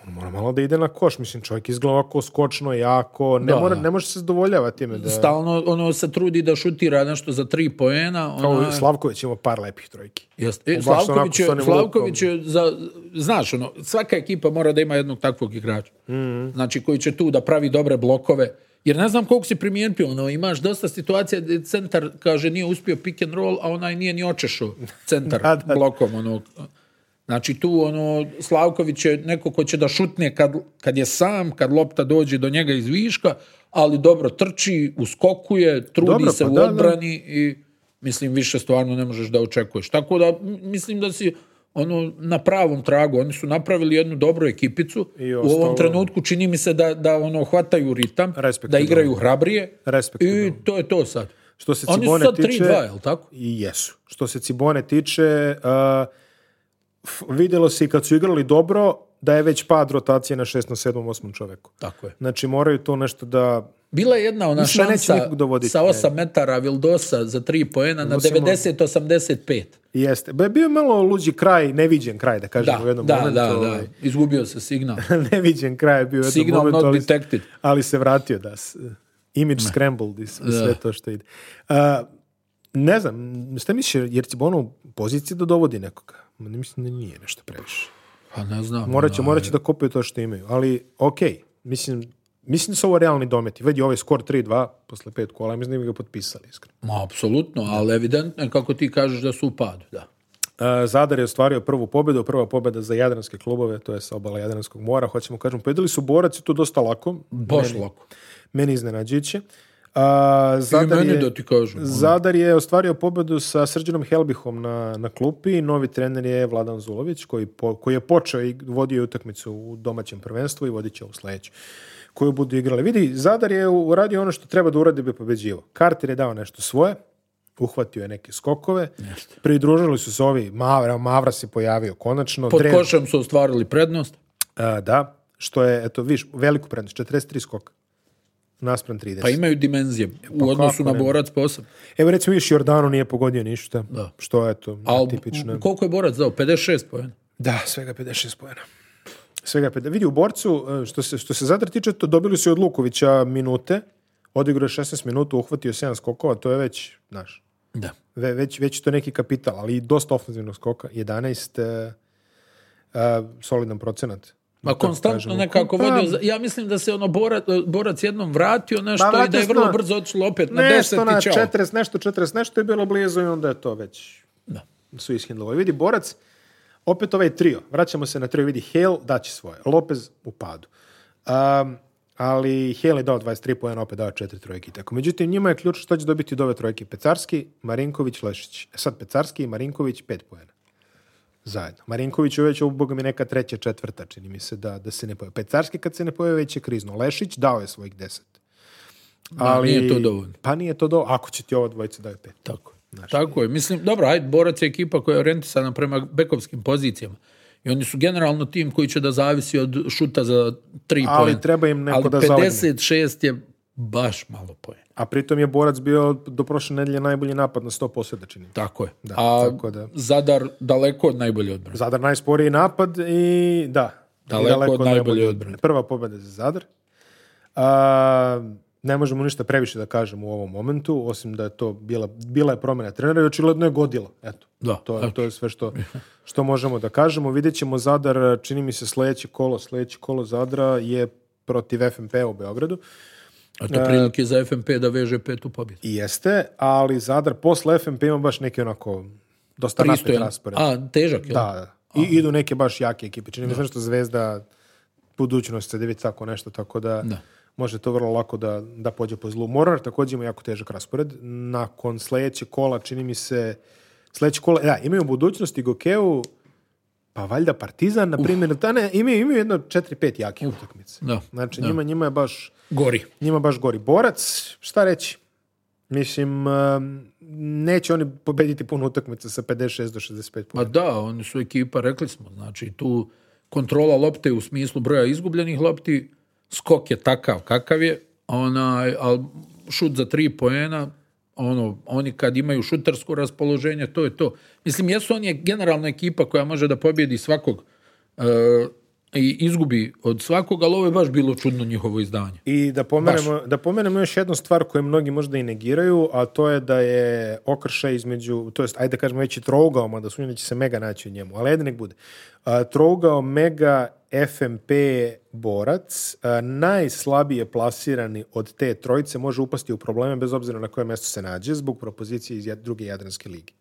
on mora malo da ide na koš, mislim čovjek izgleda ovako skočno, jako, ne, Da, mora, da. ne može se zadovoljava time da... Stalno ono se trudi da šutira nešto za tri poena, Kao ona Slavković ima par lepih trojki. Jeste. E, Baš onako Slavković, sa je, onim Slavković je za, znaš, ono, svaka ekipa mora da ima jednog takvog igrača. Mhm. Znači, koji će tu da pravi dobre blokove. Jer ne znam koliko si primijetio, ono, imaš dosta situacija gdje centar, kaže, nije uspio pick and roll, a onaj nije ni očešao centar [LAUGHS] Da, da. blokom, ono. Znači, tu, ono, Slavković je neko ko će da šutne kad, kad je sam, kad lopta dođe do njega iz viška, ali dobro trči, uskokuje, trudi Dobro, se pa u da, da. odbrani, strani i mislim više stvarno ne možeš da očekuješ. Tako da m- mislim da si ono na pravom tragu. Oni su napravili jednu dobru ekipicu. I u ostalo- ovom trenutku čini mi se da da ono hvataju ritam, da Respektabilno. igraju hrabrije. Respektabilno. I to je to sad. Što se Oni su Cibone sad tiče... 3-2, jel tako? I jesu. Što se Cibone tiče, a, f- vidjelo se i kad su igrali dobro, da je već pad rotacije na 6, 7, 8 čoveku. Tako je. Znači moraju to nešto da... Bila je jedna ona Mislim da neće šansa nikog dovoditi, e. sa ne. 8 metara Vildosa za 3 poena na Nosimo- 90-85. Jeste. Ba, Bio je malo luđi kraj, neviđen kraj, da kažem Da, u da, jednom da, momentu. da. ovaj. Izgubio se [LAUGHS] signal. neviđen kraj je bio u jednom Signal momentu, not ali, detected. ali se vratio da s- image scrambled i s- i sve to što ide. A, ne znam, šta misliš, jer Cibona u poziciji da dovodi nekoga? Ma Ne mislim da nije nešto previše. Pa ne znam. Morat će, ono, morat će da kopaju to što imaju, ali ok, mislim, mislim da su ovo realni dometi. Vidi ovaj skor 3-2 posle pet kola, mislim da bi ga potpisali, iskreno. Ma, apsolutno, ali evidentno je kako ti kažeš da su u padu, da. E, Zadar je ostvario prvu pobedu, prva pobeda za jadranske klubove, to je sa obala Jadranskog mora, hoćemo kažem, pobedili su borac i to dosta lako. Baš lako. Meni iznenađujuće. A, I Zadar meni je, da ti kažem. ono. Zadar je ostvario pobedu sa Srđanom Helbihom na, na klupi. Novi trener je Vladan Zulović koji, po- koji je počeo i vodio je utakmicu u domaćem prvenstvu i vodit će u sledeću koju budu igrali. Vidi, Zadar je uradio ono što treba da uradi da bi pobeđivo. Carter je dao nešto svoje, uhvatio je neke skokove, pridružili su se ovi, Mavra, Mavra se pojavio konačno. Pod Dre- košem su ostvarili prednost. A, da, što je, eto, viš, veliku prednost, 43 skoka naspram 30. Pa imaju dimenzije u odnosu na ne? borac posebno. Evo recimo viš Jordanu nije pogodio ništa, Da. što je to Al, tipično. koliko je borac dao? 56 poena. Da, svega 56 pojena. Svega 50. Vidi, u borcu, e, što se, što se Zadar tiče, to dobili su i od Lukovića minute, odigrao je 16 minuta, uhvatio 7 skokova, to je već, znaš, Da. ve- već, već je to neki kapital, ali i dosta ofenzivnog skoka, 11, e, e, solidan procenat. Ma konstantno kažemo, nekako pa- vodio. za- Ja mislim da se ono borac, borac jednom vratio nešto Pa, i da vratio je se vrlo na- brzo otišlo opet na 10 Nešto na i čao. 40, nešto 40, nešto je bilo blizu i onda je to već Da. su ishendlovali. Vidi, borac, opet ovaj trio, vraćamo se na trio, vidi, Hale daće svoje, Lopez u padu. Um, ali Hale je dao 23 poena, opet dao 4 trojke. i Tako. Međutim, njima je ključ što će dobiti od ove trojke. Pecarski, Marinković, Lešić. E sad, Pecarski i Marinković 5 poena. Zajedno. Marinković je već, ovo boga mi neka treća, četvrta, čini mi se da, da se ne pojavi. Pecarski kad se ne pojavi već je krizno. Lešić dao je svojih 10. Ali, nije to dovoljno. Pa nije to dovoljno, ako će ti ovo dvojice daju pet. Tako. je. Tako je. Mislim, dobro, ajde, borac je ekipa koja je orijentisana prema bekovskim pozicijama. I oni su generalno tim koji će da zavisi od šuta za tri Ali poena. treba im neko Ali da zalegne. 56 je baš malo poena. A pritom je borac bio do prošle nedelje najbolji napad na 100 posjeda čini. mi se. Tako je. A tako da- Zadar daleko od najbolje odbrane. Zadar najsporiji napad i da. Daleko i od najbolje najbolje odbrane. Prva pobjeda za Zadar. A, ne možemo ništa previše da kažemo u ovom momentu, osim da je to bila, bila je promjena trenera i očigledno je godilo. Eto, Da, to, eto. je, to je sve što, što možemo da kažemo. Vidjet ćemo Zadar, čini mi se sledeće kolo, sledeće kolo Zadra je protiv FNP u Beogradu. E, A to prilike za FNP da veže petu pobjedu. I jeste, ali Zadar posle FNP ima baš neki onako dosta napet Pristojan. raspored. A, težak je. Da, da. I idu neke baš jake ekipe. Čini mi se nešto Zvezda, budućnost, Cedevit, tako nešto, tako da, može to vrlo lako da, da pođe po zlu. Morar također ima jako težak raspored. Nakon sledećeg kola, čini mi se, sledeće kola, da, imaju budućnost i Gokeu, pa valjda Partizan, na primjer, da ne, imaju, imaju jedno 4-5 jakih utakmica. Da. Znači, njima, njima je baš Gori. njima baš gori borac, šta reći? Mislim, um, neće oni pobediti puno utakmica sa 56 do 65 Pa puna. da, oni su ekipa, rekli smo, znači tu kontrola lopte u smislu broja izgubljenih lopti, skok je takav kakav je, onaj, al šut za tri poena, ono, oni kad imaju šutarsko raspoloženje, to je to. Mislim, jesu oni generalna ekipa koja može da pobjedi svakog e, i izgubi od svakog, ali ovo je baš bilo čudno njihovo izdanje. I da pomenemo, da pomenemo još jednu stvar koju mnogi možda i negiraju, a to je da je okršaj između, to jest, ajde da kažemo već i trougao, mada sumnjam da će se mega naći u njemu, ali ajde nek bude. A, trougao mega FMP borac, a, najslabije plasirani od te trojice može upasti u probleme bez obzira na koje mjesto se nađe zbog propozicije iz jad- druge Jadranske lige.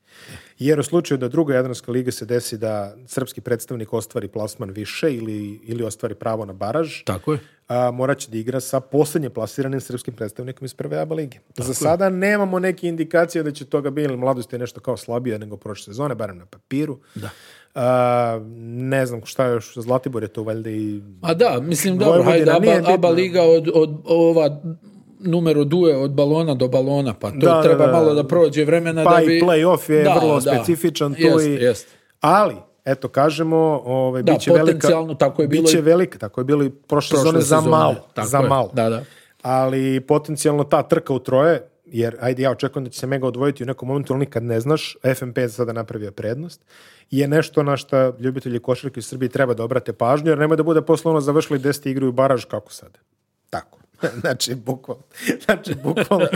Jer u slučaju da druga Jadranska liga se desi da srpski predstavnik ostvari plasman više ili, ili ostvari pravo na baraž, Tako je. a, morat će da igra sa posljednje plasiranim srpskim predstavnikom iz prve ABA lige. Za sada nemamo neke indikacije da će toga biti, jer mladost je nešto kao slabija nego prošle sezone, barem na papiru. Da. ne znam šta još, Zlatibor je to valjda i... A da, mislim, dobro, Vojvodina hajde, nije aba, bitno. aba liga od, od ova numero due od balona do balona, pa to Da, treba da, da. malo da prođe vremena pa da bi... i playoff je Da, vrlo da. specifičan tu Jest, i... jest. Ali, eto, kažemo, ovaj, Da, bit će velika... potencijalno tako je bilo Biće i- velika, tako je bilo i prošle, Prošle sezone za sezone, malo. tako za je. malo. Da, da. Ali potencijalno ta trka u troje, jer ajde ja očekujem da će se Mega odvojiti u nekom momentu, ali nikad ne znaš, FNP je sada napravio prednost, je nešto na što ljubitelji košarke u Srbiji treba da obrate pažnju, jer nemoj da bude poslovno završili 10 igru u baraž kako sad. Tako. [LAUGHS] Znači, bukvalno. Znači, bukvalno.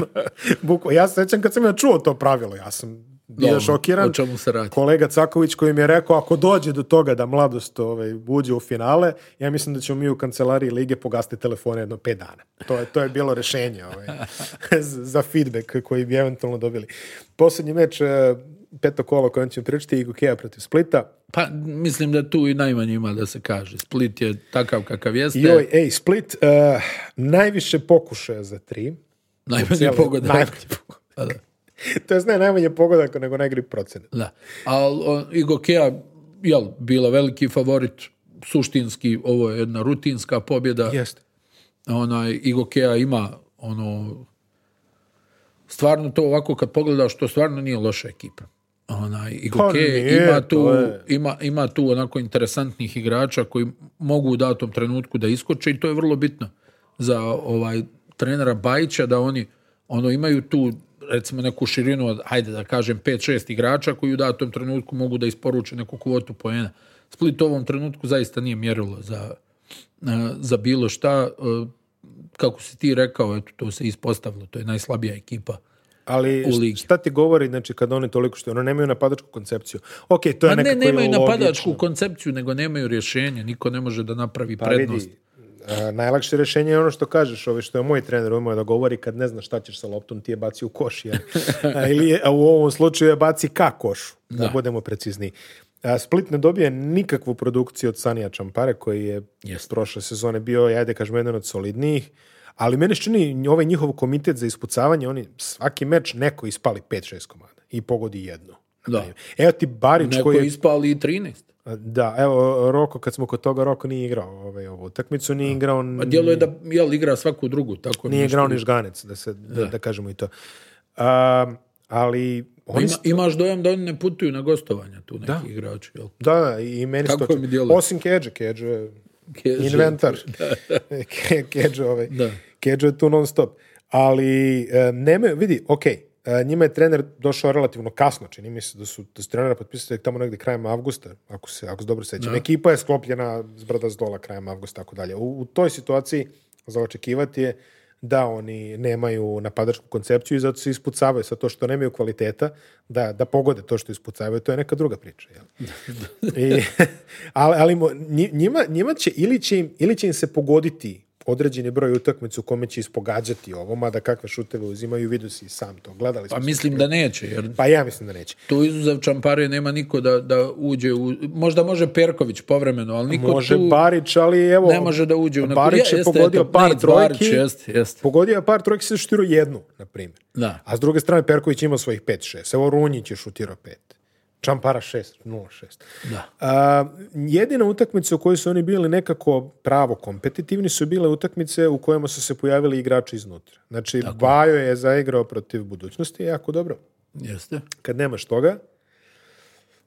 bukvalno. Ja se sećam kad sam ja čuo to pravilo, ja sam bio Dobro, šokiran. o čemu se radi? Kolega Caković koji mi je rekao, ako dođe do toga da mladost ovaj, uđe u finale, ja mislim da ćemo mi u kancelariji Lige pogasti telefone jedno pet dana. To je, to je bilo rešenje ovaj, [LAUGHS] za feedback koji bi eventualno dobili. Posljednji meč, eh, peto kolo o kojem ćemo pričati, i Gokeja protiv Splita. Pa mislim da tu i najmanje ima da se kaže. Split je takav kakav jeste. Joj, ej, Split, eh, najviše pokušaja za tri. [LAUGHS] najmanje Cijeli- pogodak. najmanje pogodak. Pa da. to je ne najmanje pogodaka nego najgori procenat. Da. Ali Igokea, jel, bila veliki favorit, suštinski, ovo je jedna rutinska pobjeda. Jeste. Onaj, Igokea ima, ono, stvarno to ovako kad pogledaš, to stvarno nije loša ekipa. Onaj, Igokea Pa nije, ima, tu, to je- ima, ima tu onako interesantnih igrača koji mogu u datom trenutku da iskoče i to je vrlo bitno za ovaj trenera Bajića da oni ono imaju tu recimo neku širinu od, hajde da kažem, 5-6 igrača koji u datom trenutku mogu da isporuče neku kvotu poena. Split u ovom trenutku zaista nije mjerilo za, e, za bilo šta. E, Kako si ti rekao, eto, to se ispostavilo, to je najslabija ekipa. Ali U št- ligi. šta ti govori, znači, kad oni toliko što, ono, nemaju napadačku koncepciju. Ok, to je Pa ne, nekako i nemaju logično. napadačku koncepciju, nego nemaju rješenje, niko ne može da napravi Pa vidi, prednost. a, najlakše rješenje je ono što kažeš, ove što je moj trener umeo da govori kad ne znaš šta ćeš sa loptom, ti je baci u [LAUGHS] koš. Jer, a, ili je- a u ovom slučaju je baci ka košu, da, budemo precizniji. A, Split ne dobije nikakvu produkciju od Sanija Čampare koji je Jeste. prošle sezone bio, ja da kažem, jedan od solidnijih. Ali mene se čini ovaj njihov komitet za ispucavanje, oni svaki meč neko ispali 5-6 komada i pogodi jedno. na Da. primjer. Evo ti Barić Neko Znači, koji je ispali i 13. da, evo, Roko, kad smo kod toga, Roko nije igrao ovaj, ovu utakmicu, nije igrao, Pa djelo je da jel, igra svaku drugu, tako Mm. nije nešto. igrao ni žganec, da, se, da, da kažemo i to. A, ali, Pa oni, Ima- imaš dojam da oni ne putuju na gostovanja tu neki igrači, jel? da, da, i meni se Tako to- mi djeluje. Osim Keđe, Keđe je Keđe. inventar. Ke- Keđe, ovaj, Da. Keđe je tu non stop. Ali, e, nemaju, vidi, ok, njima je trener došao relativno kasno, čini mi se da su, da su trenera potpisali tek tamo negdje krajem avgusta, ako se, ako se dobro sećam. Ekipa je sklopljena s brda s dola krajem avgusta, tako dalje. U, u toj situaciji za očekivati je da oni nemaju napadačku koncepciju i zato se ispucavaju sa to što nemaju kvaliteta, da, da pogode to što ispucavaju, to je neka druga priča. Jel? I, [LAUGHS] ali ali mo- nji- njima, njima će, ili će, im, ili će im se pogoditi određeni broj utakmica u kome će ispogađati ovo, mada kakve šuteve uzimaju, vidu si i sam to, gledali smo. Pa Pa, mislim da neće, jer pa ja mislim da neće. tu izuzev Čampare nema niko da, da uđe u... Možda može Perković povremeno, ali niko Može tu Barić, ali evo... ne može da uđe u neku... Barić Ja, je jeste, pogodio eto, par Nate trojki. Barić, jeste, jeste. Pogodio je par trojki, se šutirao jednu, na primjer. Da. A s druge strane, Perković ima svojih 5-6. Evo, Runjić je šutirao 5. Čampara 6, 0-6. Da. A, jedina utakmica u kojoj su oni bili nekako pravo kompetitivni su bile utakmice u kojima su se pojavili igrači iznutra. Znači, Bajo je zaigrao protiv budućnosti jako dobro. Jeste. Kad nemaš toga,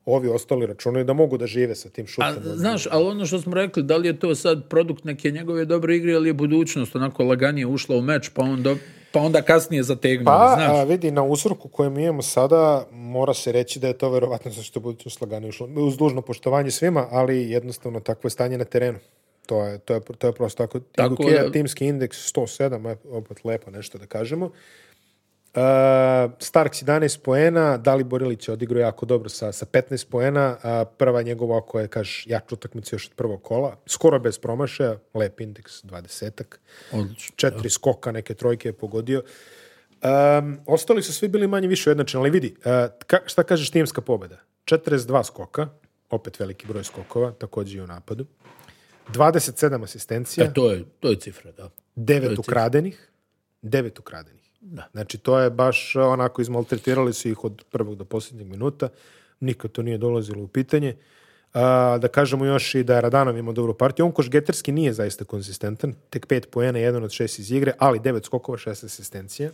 ovi ostali računaju da mogu da žive sa tim A, šutom. znaš, ali ono što smo rekli, da li je to sad produkt neke njegove dobre igre ili je budućnost onako laganije ušla u meč, pa, on do- pa onda kasnije zategnula, Pa, znaš? a, vidi, na uzorku koje mi imamo sada, mora se reći da je to verovatno zato što buduću slagano išlo. Uz dužno poštovanje svima, ali jednostavno takvo je stanje na terenu. To je, to je, to je prosto tako. Tako Tako je. da- Timski indeks 107, aj, opet lepo nešto da kažemo. Uh, Starks 11 poena, Dalibor Ilić je odigrao jako dobro sa, sa 15 poena, a prva njegova koja je, kažeš, jača utakmica još od prvog kola, skoro bez promašaja, lep indeks, 20-ak Odlično. četiri skoka, neke trojke je pogodio. Um, ostali su svi bili manje više ujednačeni, ali vidi, uh, ka- šta kažeš timska pobjeda? 42 skoka, opet veliki broj skokova, također i u napadu. 27 asistencija, E, to, je, to je cifra, da. 9 ukradenih, 9 ukradenih. Znači, to je baš uh, onako izmaltretirali su ih od prvog do posljednjeg minuta. Nikad to nije dolazilo u pitanje. Uh, A, da kažemo još i da je Radanov imao dobru partiju. On Košgeterski nije zaista konzistentan, tek pet poena, jedan od šest iz igre, ali devet skokova, šest asistencija.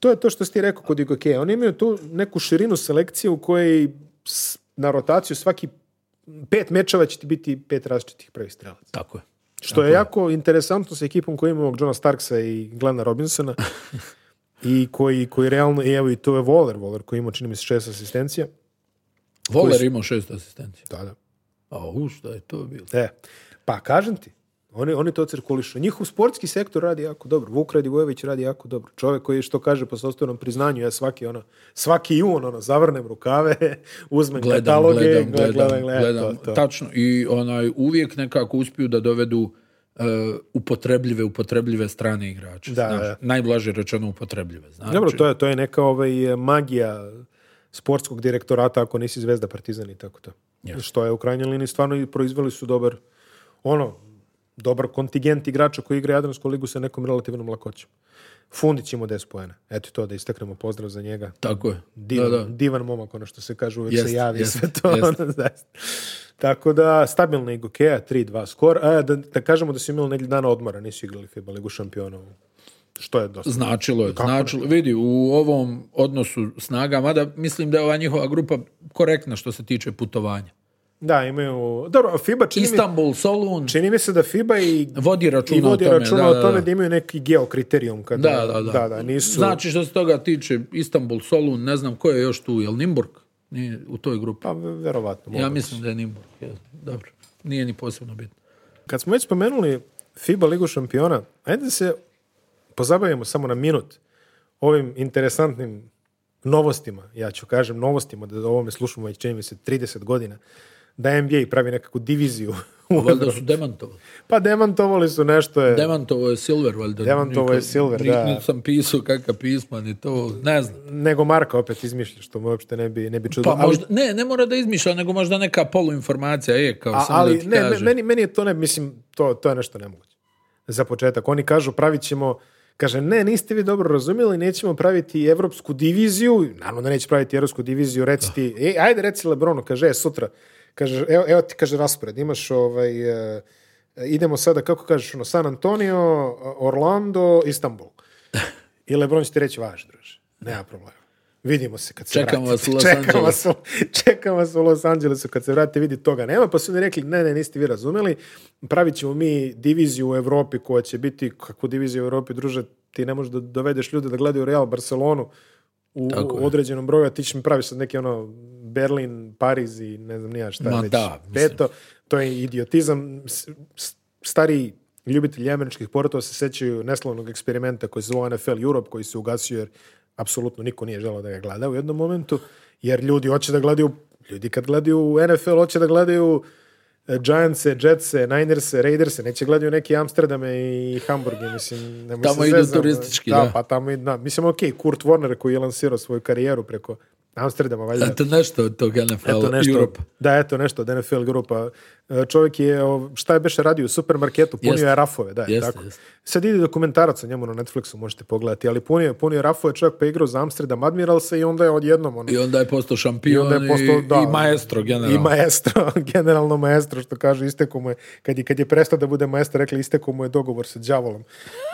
To je to što si ti rekao kod Igokeja. Oni imaju tu neku širinu selekcije u kojoj s- na rotaciju svaki pet mečeva će ti biti pet različitih prvih strelaca. Tako je. Što je jako interesantno sa ekipom koja ima ovog Johna Starksa i Glena [LAUGHS] Robinsona i koji, koji realno, i evo i to je Waller, Waller koji ima čini mi se šest asistencija. Voler imao šest asistencija. Da, da. A u, šta je to bilo? E, pa kažem ti, oni, oni to cirkulišu. Njihov sportski sektor radi jako dobro. Vuk Radivojević radi jako dobro. Čovjek koji je, što kaže po sopstvenom priznanju, ja svaki ono, svaki jun ono, zavrnem rukave, [LAUGHS] uzmem Gledam, kataloge, gledam, gledam, gledam, gledam, gledam, to, to. Tačno. I onaj, uvijek nekako uspiju da dovedu e, upotrebljive, upotrebljive strane igrače. Da, znaš. da. Najblaže rečeno upotrebljive. Znači, Dobro, to je, to je neka ovaj, magija sportskog direktorata ako nisi zvezda Partizan i tako to. Što je u krajnjoj liniji stvarno i proizveli su dobar ono, dobar kontingent igrača koji igra Jadransku ligu sa nekom relativnom lakoćom. Fundić ima 10 poena. Eto to da istaknemo pozdrav za njega. Tako je. Divan, Da, da. divan momak, ono što se kaže, uvijek Jest, se javi i jest, sve to. jest. ono, zaista. Tako da, stabilna Igokeja, 3-2 skor. A, da, da kažemo da su imali negdje dana odmora, nisu igrali FIBA ligu šampiona. Što je dosta. Značilo je, značilo. Vidi, u ovom odnosu snaga, mada mislim da je ova njihova grupa korektna što se tiče putovanja. Da, imaju... Dobro, a FIBA čini mi, Istanbul, Solun, čini mi se da FIBA i vodi i računa vodi o tome. računa da, o da, tome da, da. imaju neki geokriterijum. Kada, Da, da, da. nisu... Znači što se toga tiče, Istanbul, Solun, ne znam ko je još tu, jel Nimburg? Nije u toj grupi. Pa, ve- verovatno. Ja mogu. mislim da je Nimburg. jel. Dobro, nije ni posebno [LAUGHS] bitno. Kad smo već spomenuli FIBA ligu šampiona, ajde da se pozabavimo samo na minut ovim interesantnim novostima, ja ću kažem novostima, da o ovome slušamo već čini mi se 30 godina, da NBA pravi nekakvu [LAUGHS] diviziju. u- Valjda su demantovali. pa demantovali su nešto je... Demantovo je Silver, valjda. Demantovo je Nikad- Silver, nik- da. nit sam pisao kakva pisma, ni to, ne znam. Nego Marka opet izmišlja, što mu uopšte ne bi, ne bi čudo. Pa ali- možda, ne, ne mora da izmišlja, nego možda neka poluinformacija je, kao A- samo ali da ti ne, me- kažem. meni, meni je to ne, mislim, to, to je nešto nemoguće. Za početak. Oni kažu, pravit ćemo, kaže, ne, niste vi dobro razumjeli, nećemo praviti evropsku diviziju, naravno da neće praviti evropsku diviziju, reci ti, e, ajde reci Lebronu, kaže, e, sutra, kaže, evo, evo ti kaže raspored, imaš ovaj, e, idemo sada, kako kažeš, ono, San Antonio, Orlando, [LAUGHS] Istanbul. I Lebron će ti reći, važi, druže, nema problema. Vidimo se kad se Čekam vratite. vas u Los Čekam Angelesu. vas vas u- [LAUGHS] čekam vas u Los Angelesu kad se vratite, vidi toga nema, pa su mi rekli ne, ne, niste vi razumeli, pravit ćemo mi diviziju u Europi koja će biti, kakvu diviziju u Europi, druže, ti ne možeš da dovedeš ljude da gledaju Real Barcelonu u, Tako u je. određenom broju, a ti ćeš mi praviš sad neki ono Berlin, Pariz i ne znam ni ja šta Ma već. da, mislim. Peto, to je idiotizam. S- s- Stariji ljubitelji američkih portova se sećaju neslavnog eksperimenta koji se zvao NFL Europe, koji se ugasio jer apsolutno niko nije želao da ga gleda u jednom momentu, jer ljudi hoće da gledaju, ljudi kad gledaju NFL hoće da gledaju e, Giantse, Jetse, Ninerse, Raiderse, neće gledaju neki Amsterdame i Hamburge, mislim, nemoj Tamo se idu zezamo. turistički, da. pa tamo, i- da, mislim, ok, Kurt Warner koji je lansirao svoju karijeru preko Amsterdama, valjda. [LAUGHS] Eto nešto od toga NFL Eto nešto, Europe. Da, eto nešto od NFL grupa. E, Čovjek je, o, šta je beše radio u supermarketu, punio Jeste. je rafove, da, je Jeste, tako. jeste. Sad ide dokumentarac o njemu na Netflixu, možete pogledati, ali punio je, punio je rafove, čovjek pa je igrao za Amsterdam Admiralsa i onda je odjednom, ono, I onda je postao i šampion i, onda je postao, da, i maestro generalno. I maestro, [LAUGHS] generalno maestro, što kažu, isteko mu je, kad je, kad je prestao da bude maestro, rekli isteko mu je dogovor sa đavolom.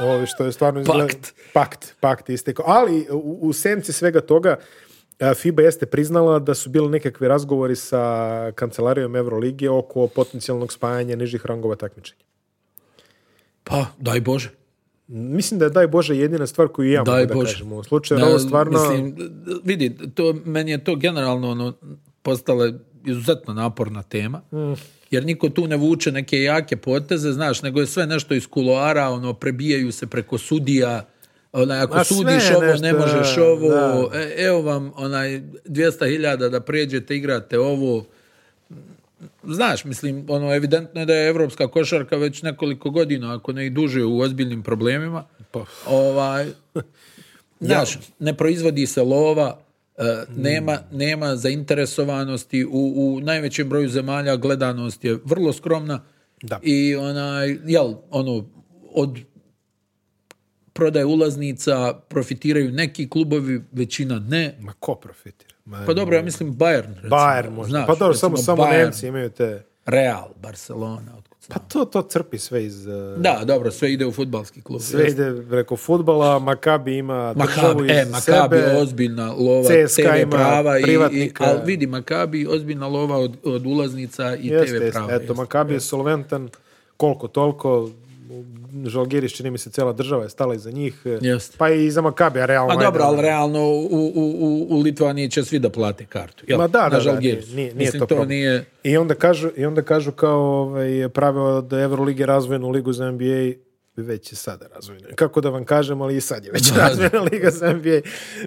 Ovo, što je stvarno izgleda... Pakt. Pakt, pakt je isteko. Ali u, u senci svega toga, a, FIBA jeste priznala da su bili nekakvi razgovori sa kancelarijom Euroligije oko potencijalnog spajanja nižih rangova takmičenja. Pa, daj Bože. Mislim da je, daj Bože, jedina stvar koju ja Daj mogu da Bože. kažem u ovom slučaju, jer Ne, ovo stvarno... Mislim, vidi, to, meni je to generalno ono, postala izuzetno naporna tema, Mm. jer niko tu ne vuče neke jake poteze, znaš, nego je sve nešto iz kuloara, ono, prebijaju se preko sudija, onaj, ako Ma, sve sudiš je ovo, nešto, ne možeš da, ovo, da. e, evo vam, onaj, 200.000 da pređete, igrate ovo, znaš, mislim, ono, evidentno je da je evropska košarka već nekoliko godina, ako ne i duže, u ozbiljnim problemima. Pa. Ovaj, znaš, ne proizvodi se lova, e, Mm. nema, nema zainteresovanosti, u, u najvećem broju zemalja gledanost je vrlo skromna. Da. I onaj, jel, ono, od prodaje ulaznica, profitiraju neki klubovi, većina ne. Ma ko profitira? Ma, Pa dobro, ja mislim Bayern. Recimo, Bayern možda. znaš, pa dobro, samo, recimo samo Bayern, Nemci imaju te... Real, Barcelona. otkud znam. Pa to, to crpi sve iz... eh, Da, dobro, sve ide u futbalski klub. Sve ide preko futbala, Makabi ima državu Makabi, iz e, Makabi sebe. je ozbiljna lova CSKA TV ima prava i, i privatnika. ali vidi Makabi ozbiljna lova od, od ulaznica i Jeste, TV jeste. prava. Eto, jeste. Makabi je solventan, koliko toliko, Žalgiris, čini mi se, cijela država je stala iza njih. Jeste. Pa i za Makabija, realno. Ma ajde, dobro, ono. ali realno u, u, u, u Litvaniji će svi da plate kartu. Jel? Ma da, da, da, Nažal, nije, Girs. nije, nije Mislim, to problem. nije... I onda kažu, i onda kažu kao ovaj, prave od Eurolige razvojnu ligu za NBA već je sada razvojna. Kako da vam kažem, ali i sad je već [LAUGHS] razvojna liga za NBA.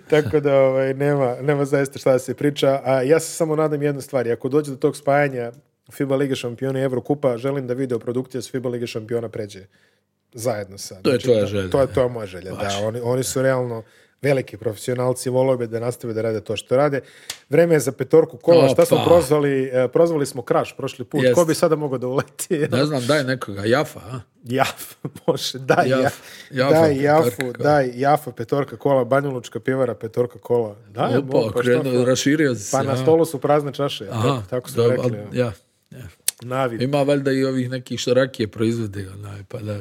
Tako da ovaj, nema, nema zaista šta da se priča. A ja se samo nadam jednu stvar. Ako dođe do tog spajanja FIBA Lige šampiona i Evrokupa, želim da video produkcija s FIBA Lige šampiona pređe zajedno sa. To je Znači, tvoja da- želja. To je, to je moja želja, da. Oni, oni su realno veliki profesionalci, volio bi da nastave da rade to što rade. Vreme je za petorku kola, šta smo Opa. prozvali, e, prozvali smo Kraš prošli put, Jest. ko bi sada mogao da uleti? Ne znam, daj nekoga, Jafa, a? [LAUGHS] Jaf, može, daj, Jaf. Jaf, Jafa, daj Jafu, petorka kola. daj Jafa, petorka kola, Banjulučka pivara, petorka kola. Daj, mogu, Opa, pa šta krenuo, fa- raširio se. Pa na a? stolu su prazne čaše, Aha, tako, tako su dobro, rekli. ali, ja, ja. Navi, Ima valjda i ovih nekih što rakije proizvode, onaj, pa da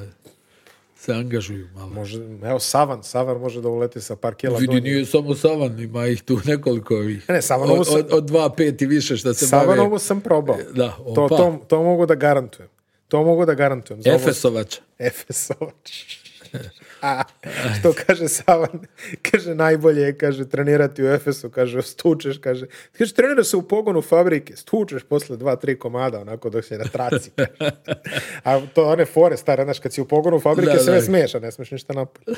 se angažuju malo. može, evo Savan, Savan može da uleti sa par kila Vidi, donje. nije samo Savan, ima ih tu nekoliko ovih. Pa Ne, Savan, ovo od, sam- od, od dva, pet i više što se bave. Savanovu sam probao. Da, to, opa. to, to mogu da garantujem. To mogu da garantujem. Za ovo- Efesovača. Efesovač. A, što kaže Savan, kaže najbolje je, kaže, trenirati u Efesu, kaže, stučeš, kaže, kaže, trenira se u pogonu fabrike, stučeš posle dva, tri komada, onako dok se na traci. kaže. A to one fore stare, znaš, kad si u pogonu fabrike, Da, sve da. smeša, ne smiješ ništa napolje.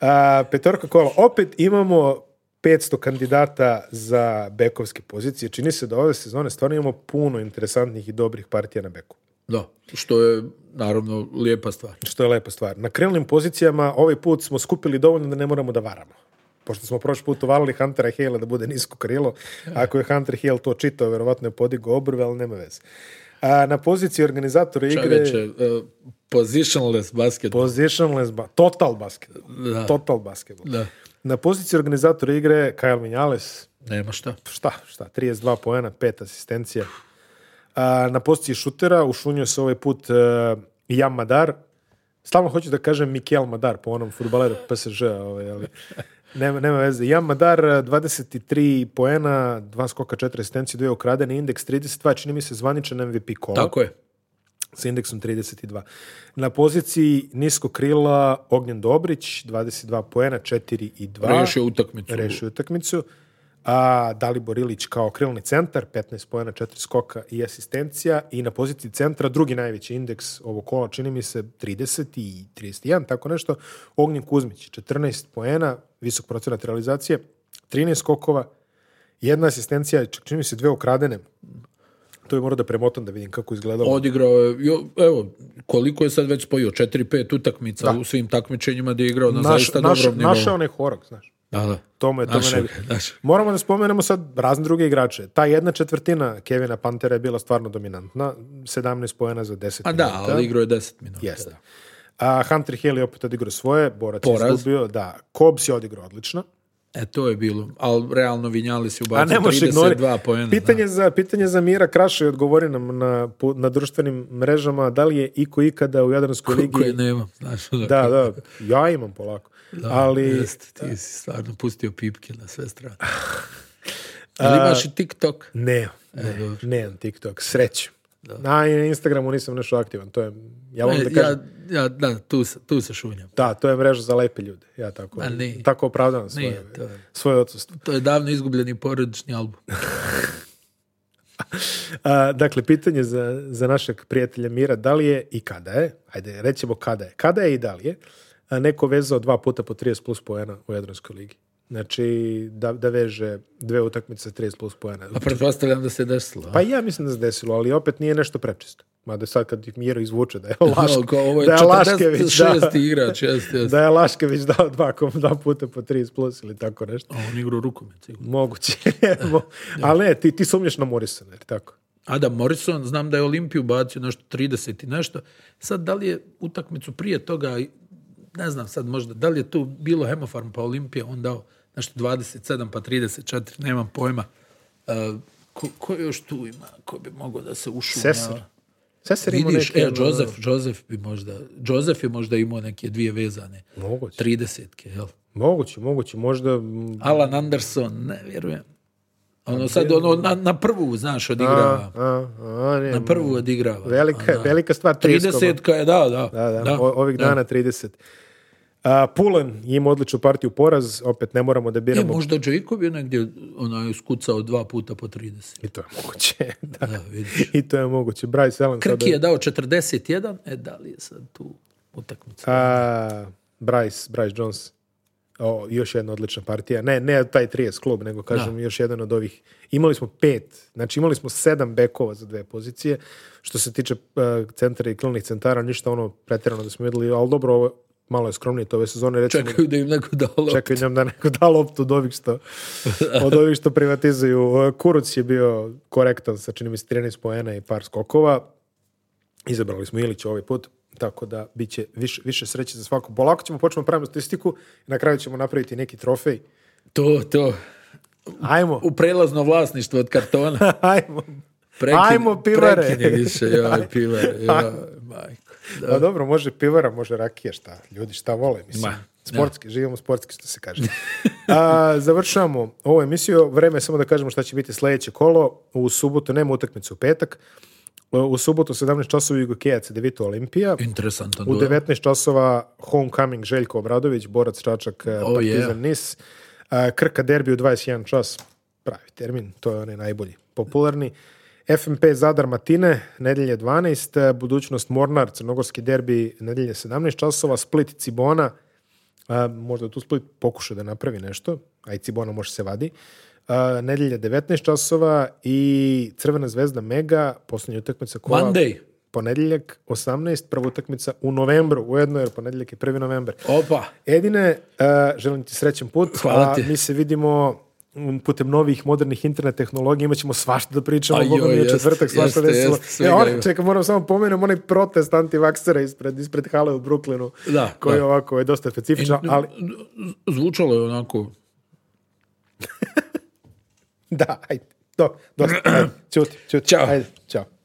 A, petorka kola, opet imamo 500 kandidata za bekovske pozicije. Čini se da ove sezone stvarno imamo puno interesantnih i dobrih partija na beku Da, što je naravno lijepa stvar. što je lepa stvar. Na krilnim pozicijama ovaj put smo skupili dovoljno da ne moramo da varamo. Pošto smo prošli put uvalili Huntera Hale da bude nisko krilo. Ako je Hunter Hale to čitao, verovatno je podigao obrve, ali nema veze. A, na poziciji organizatora igre... Čoveče, e, positionless basket. Positionless ba- total basketball. Da. Total basketball. Da, Na poziciji organizatora igre Kyle Minales, nema šta. šta, šta, 32 poena, pet asistencija. A, na poziciji šutera ušunio se ovaj put uh, Jan Madar. Stalno hoću da kažem Mikel Madar po onom futbaleru PSG, ovaj, ali nema, nema veze. Jan Madar, eh, 23 poena, dva skoka, četiri asistencije, dvije ukradene, indeks 32, čini mi se zvaničan MVP kola Tako je. sa indeksom 32. Na poziciji nisko krila Ognjen Dobrić, 22 poena, 4 i 2 Rešio utakmicu. rešio utakmicu. A Dalibor Ilić kao krilni centar, 15 pojena, 4 skoka i asistencija i na poziciji centra drugi najveći indeks ovog kola, čini mi se 30 i 31, tako nešto. Ognjen Kuzmić, 14 poena, visok procenat realizacije, 13 skokova, jedna asistencija, čak čini mi se dve ukradene. To je morao da premotam da vidim kako je izgledalo. Odigrao je, jo, evo, koliko je sad već spojio? 4-5 utakmica u svim takmičenjima da je igrao na Naš, zaista naš, dobrom nivou. našao je onaj horog, znaš. Da, da. Tome, tome Našao ne ga, bi- našao. Moramo da spomenemo sad razne druge igrače. Ta jedna četvrtina Kevina Pantera je bila stvarno dominantna. 17 pojena za 10 A da, ali igrao je 10 minuta. Jeste. A Hunter Hill je opet odigrao svoje, Borac je Poraz. izgubio, da. Cobbs je odigrao odlično. E, to je bilo. Ali realno vinjali su A ubacio ne možeš 32 ignorirati. poena. Pitanje, za, pitanje za Mira Kraša je odgovori nam na, pu- na društvenim mrežama da li je iko ikada u Jadranskoj da. koje ligi... nemam. Znaš, ono, Da, da, ja imam polako. Ali Jeste, ti si stvarno pustio pipke na sve [LAUGHS] strane. Ali imaš i TikTok. Ne, E, ne, nemam TikTok, srećem. Na i na Instagramu nisam nešto aktivan, to je, ja volim da E, kažem, ja, ja, da, tu, se- tu se šunjam. da, to je mreža za lepe ljude, ja tako, Ma nije. tako opravdavam svoje, Nije, to je- svoje odsustvo. To je davno izgubljeni porodični [LAUGHS] album. A, dakle, pitanje za, za našeg prijatelja Mira, da li je i kada je, ajde, rećemo kada je, kada je i da li je, a, neko vezao dva puta po 30 plus poena u Jadranskoj ligi. Znači, da, da veže dve utakmice 30 plus poena. A pretpostavljam da se desilo. a? Pa i ja mislim da se desilo, ali opet nije nešto prečisto. Mada sad kad ih Miro izvuče [LAUGHS] da je Laške, Ovo, ovo je da je Laškević, da. 46. igrač, jeste, jeste. da je Laškević dao dva, kom- dva puta po 30 plus ili tako nešto. A on igra u rukomet, sigurno. Moguće. [LAUGHS] Mo- Ali ne, ti, ti sumnješ na Morrisona, jer tako? Adam Morrison, znam da je Olimpiju bacio nešto 30 i nešto. Sad, da li je utakmicu prije toga ne znam sad možda, da li je tu bilo hemofarm pa Olimpija, on dao nešto 27 pa 34, nemam pojma. E, ko, ko još tu ima, ko bi mogao da se ušumljava? Sesar. Sesar ima Vidiš, neke, e, ono, Joseph, Joseph bi možda, Joseph je možda imao neke dvije vezane. Moguće. 30-ke, jel? Moguće, moguće, možda... m, Alan Anderson, ne vjerujem. Ono sad, ono, na, na prvu, znaš, odigrava. A, a, a, ne, na prvu odigrava. ono. Velika, Ona, velika stvar. 30. 30-ka je, da, da. Da, da, o- ovih dana 30. A, Pulen ima odličnu partiju poraz, opet ne moramo da E, biramo. možda Jacob je negdje onaj, skucao dva puta po 30. I to je moguće, [LAUGHS] da. Da, vidiš. I to je moguće. Bryce Allen sada... Krki je dao 41, e da li je sad tu utakmica? A, Bryce, Bryce Jones. O, još jedna odlična partija. Ne, ne taj 30 klub, nego kažem još jedan od ovih. Imali smo pet, znači imali smo sedam bekova za dve pozicije. Što se tiče e, centra i krilnih centara, ništa ono pretjerano da smo vidjeli, ali dobro, ovo malo je skromnije to ove sezone. Recimo, Čekaju da im neko da loptu. čekaju nam da neko da loptu od ovih što, od ovih što privatizuju. E, Kuruc je bio korektan sa čini mi se 13 poena i par skokova. Izabrali smo Ilića ovaj put, tako da bit će više, više sreće za svaku. Polako ćemo počnemo pravimo statistiku i na kraju ćemo napraviti neki trofej. To, to. Ajmo, U prelazno vlasništvo od kartona. [LAUGHS] ajmo. Prekin, Ajmo, pivare. prekini više, [LAUGHS] joj, pivare. Joj, majko. Pa dobro, može pivara, može rakija, šta? Ljudi šta vole, mislim. Ma, Sportski, živimo sportski, što se kaže. A, završavamo ovu emisiju. Vreme je samo da kažemo šta će biti sljedeće kolo. U subotu nema utakmicu u petak. U subotu 17 časova Jugokeja C9 Olimpija. Interesantan U duel. 19 časova Homecoming Željko Obradović, borac Čačak, eh, Oh, Partizan Nis. A, Krka derbi u 21 čas. Pravi termin, to je onaj najbolji, popularni. FMP Zadar Matine, nedelje 12, budućnost Mornar, crnogorski derbi, nedelje 17 časova, Split Cibona, a, možda tu Split pokuša da napravi nešto, a i Cibona može se vadi. A, nedelje 19 časova i Crvena zvezda Mega, posljednja utakmica kola. Monday. Ponedjeljak 18, prva utakmica u novembru, ujedno jer ponedjeljak je 1. novembar. Opa, Edine, eh, želim ti srećan put. Hvala a ti. Mi se vidimo mm, putem novih modernih internet tehnologija imat ćemo svašta da pričamo, A Boga mi joj, je jeste, četvrtak jeste, svašta desilo. jeste, E, svega on, ima. čekaj, moram samo pomenem onaj protest antivaksera ispred, ispred hale u Brooklynu, Da, koji da. E, ovako je dosta specifičan, ali zvučalo je onako da, ajde, do, dosta, ajde, ćuti, ćuti, Ćao. ajde, čao.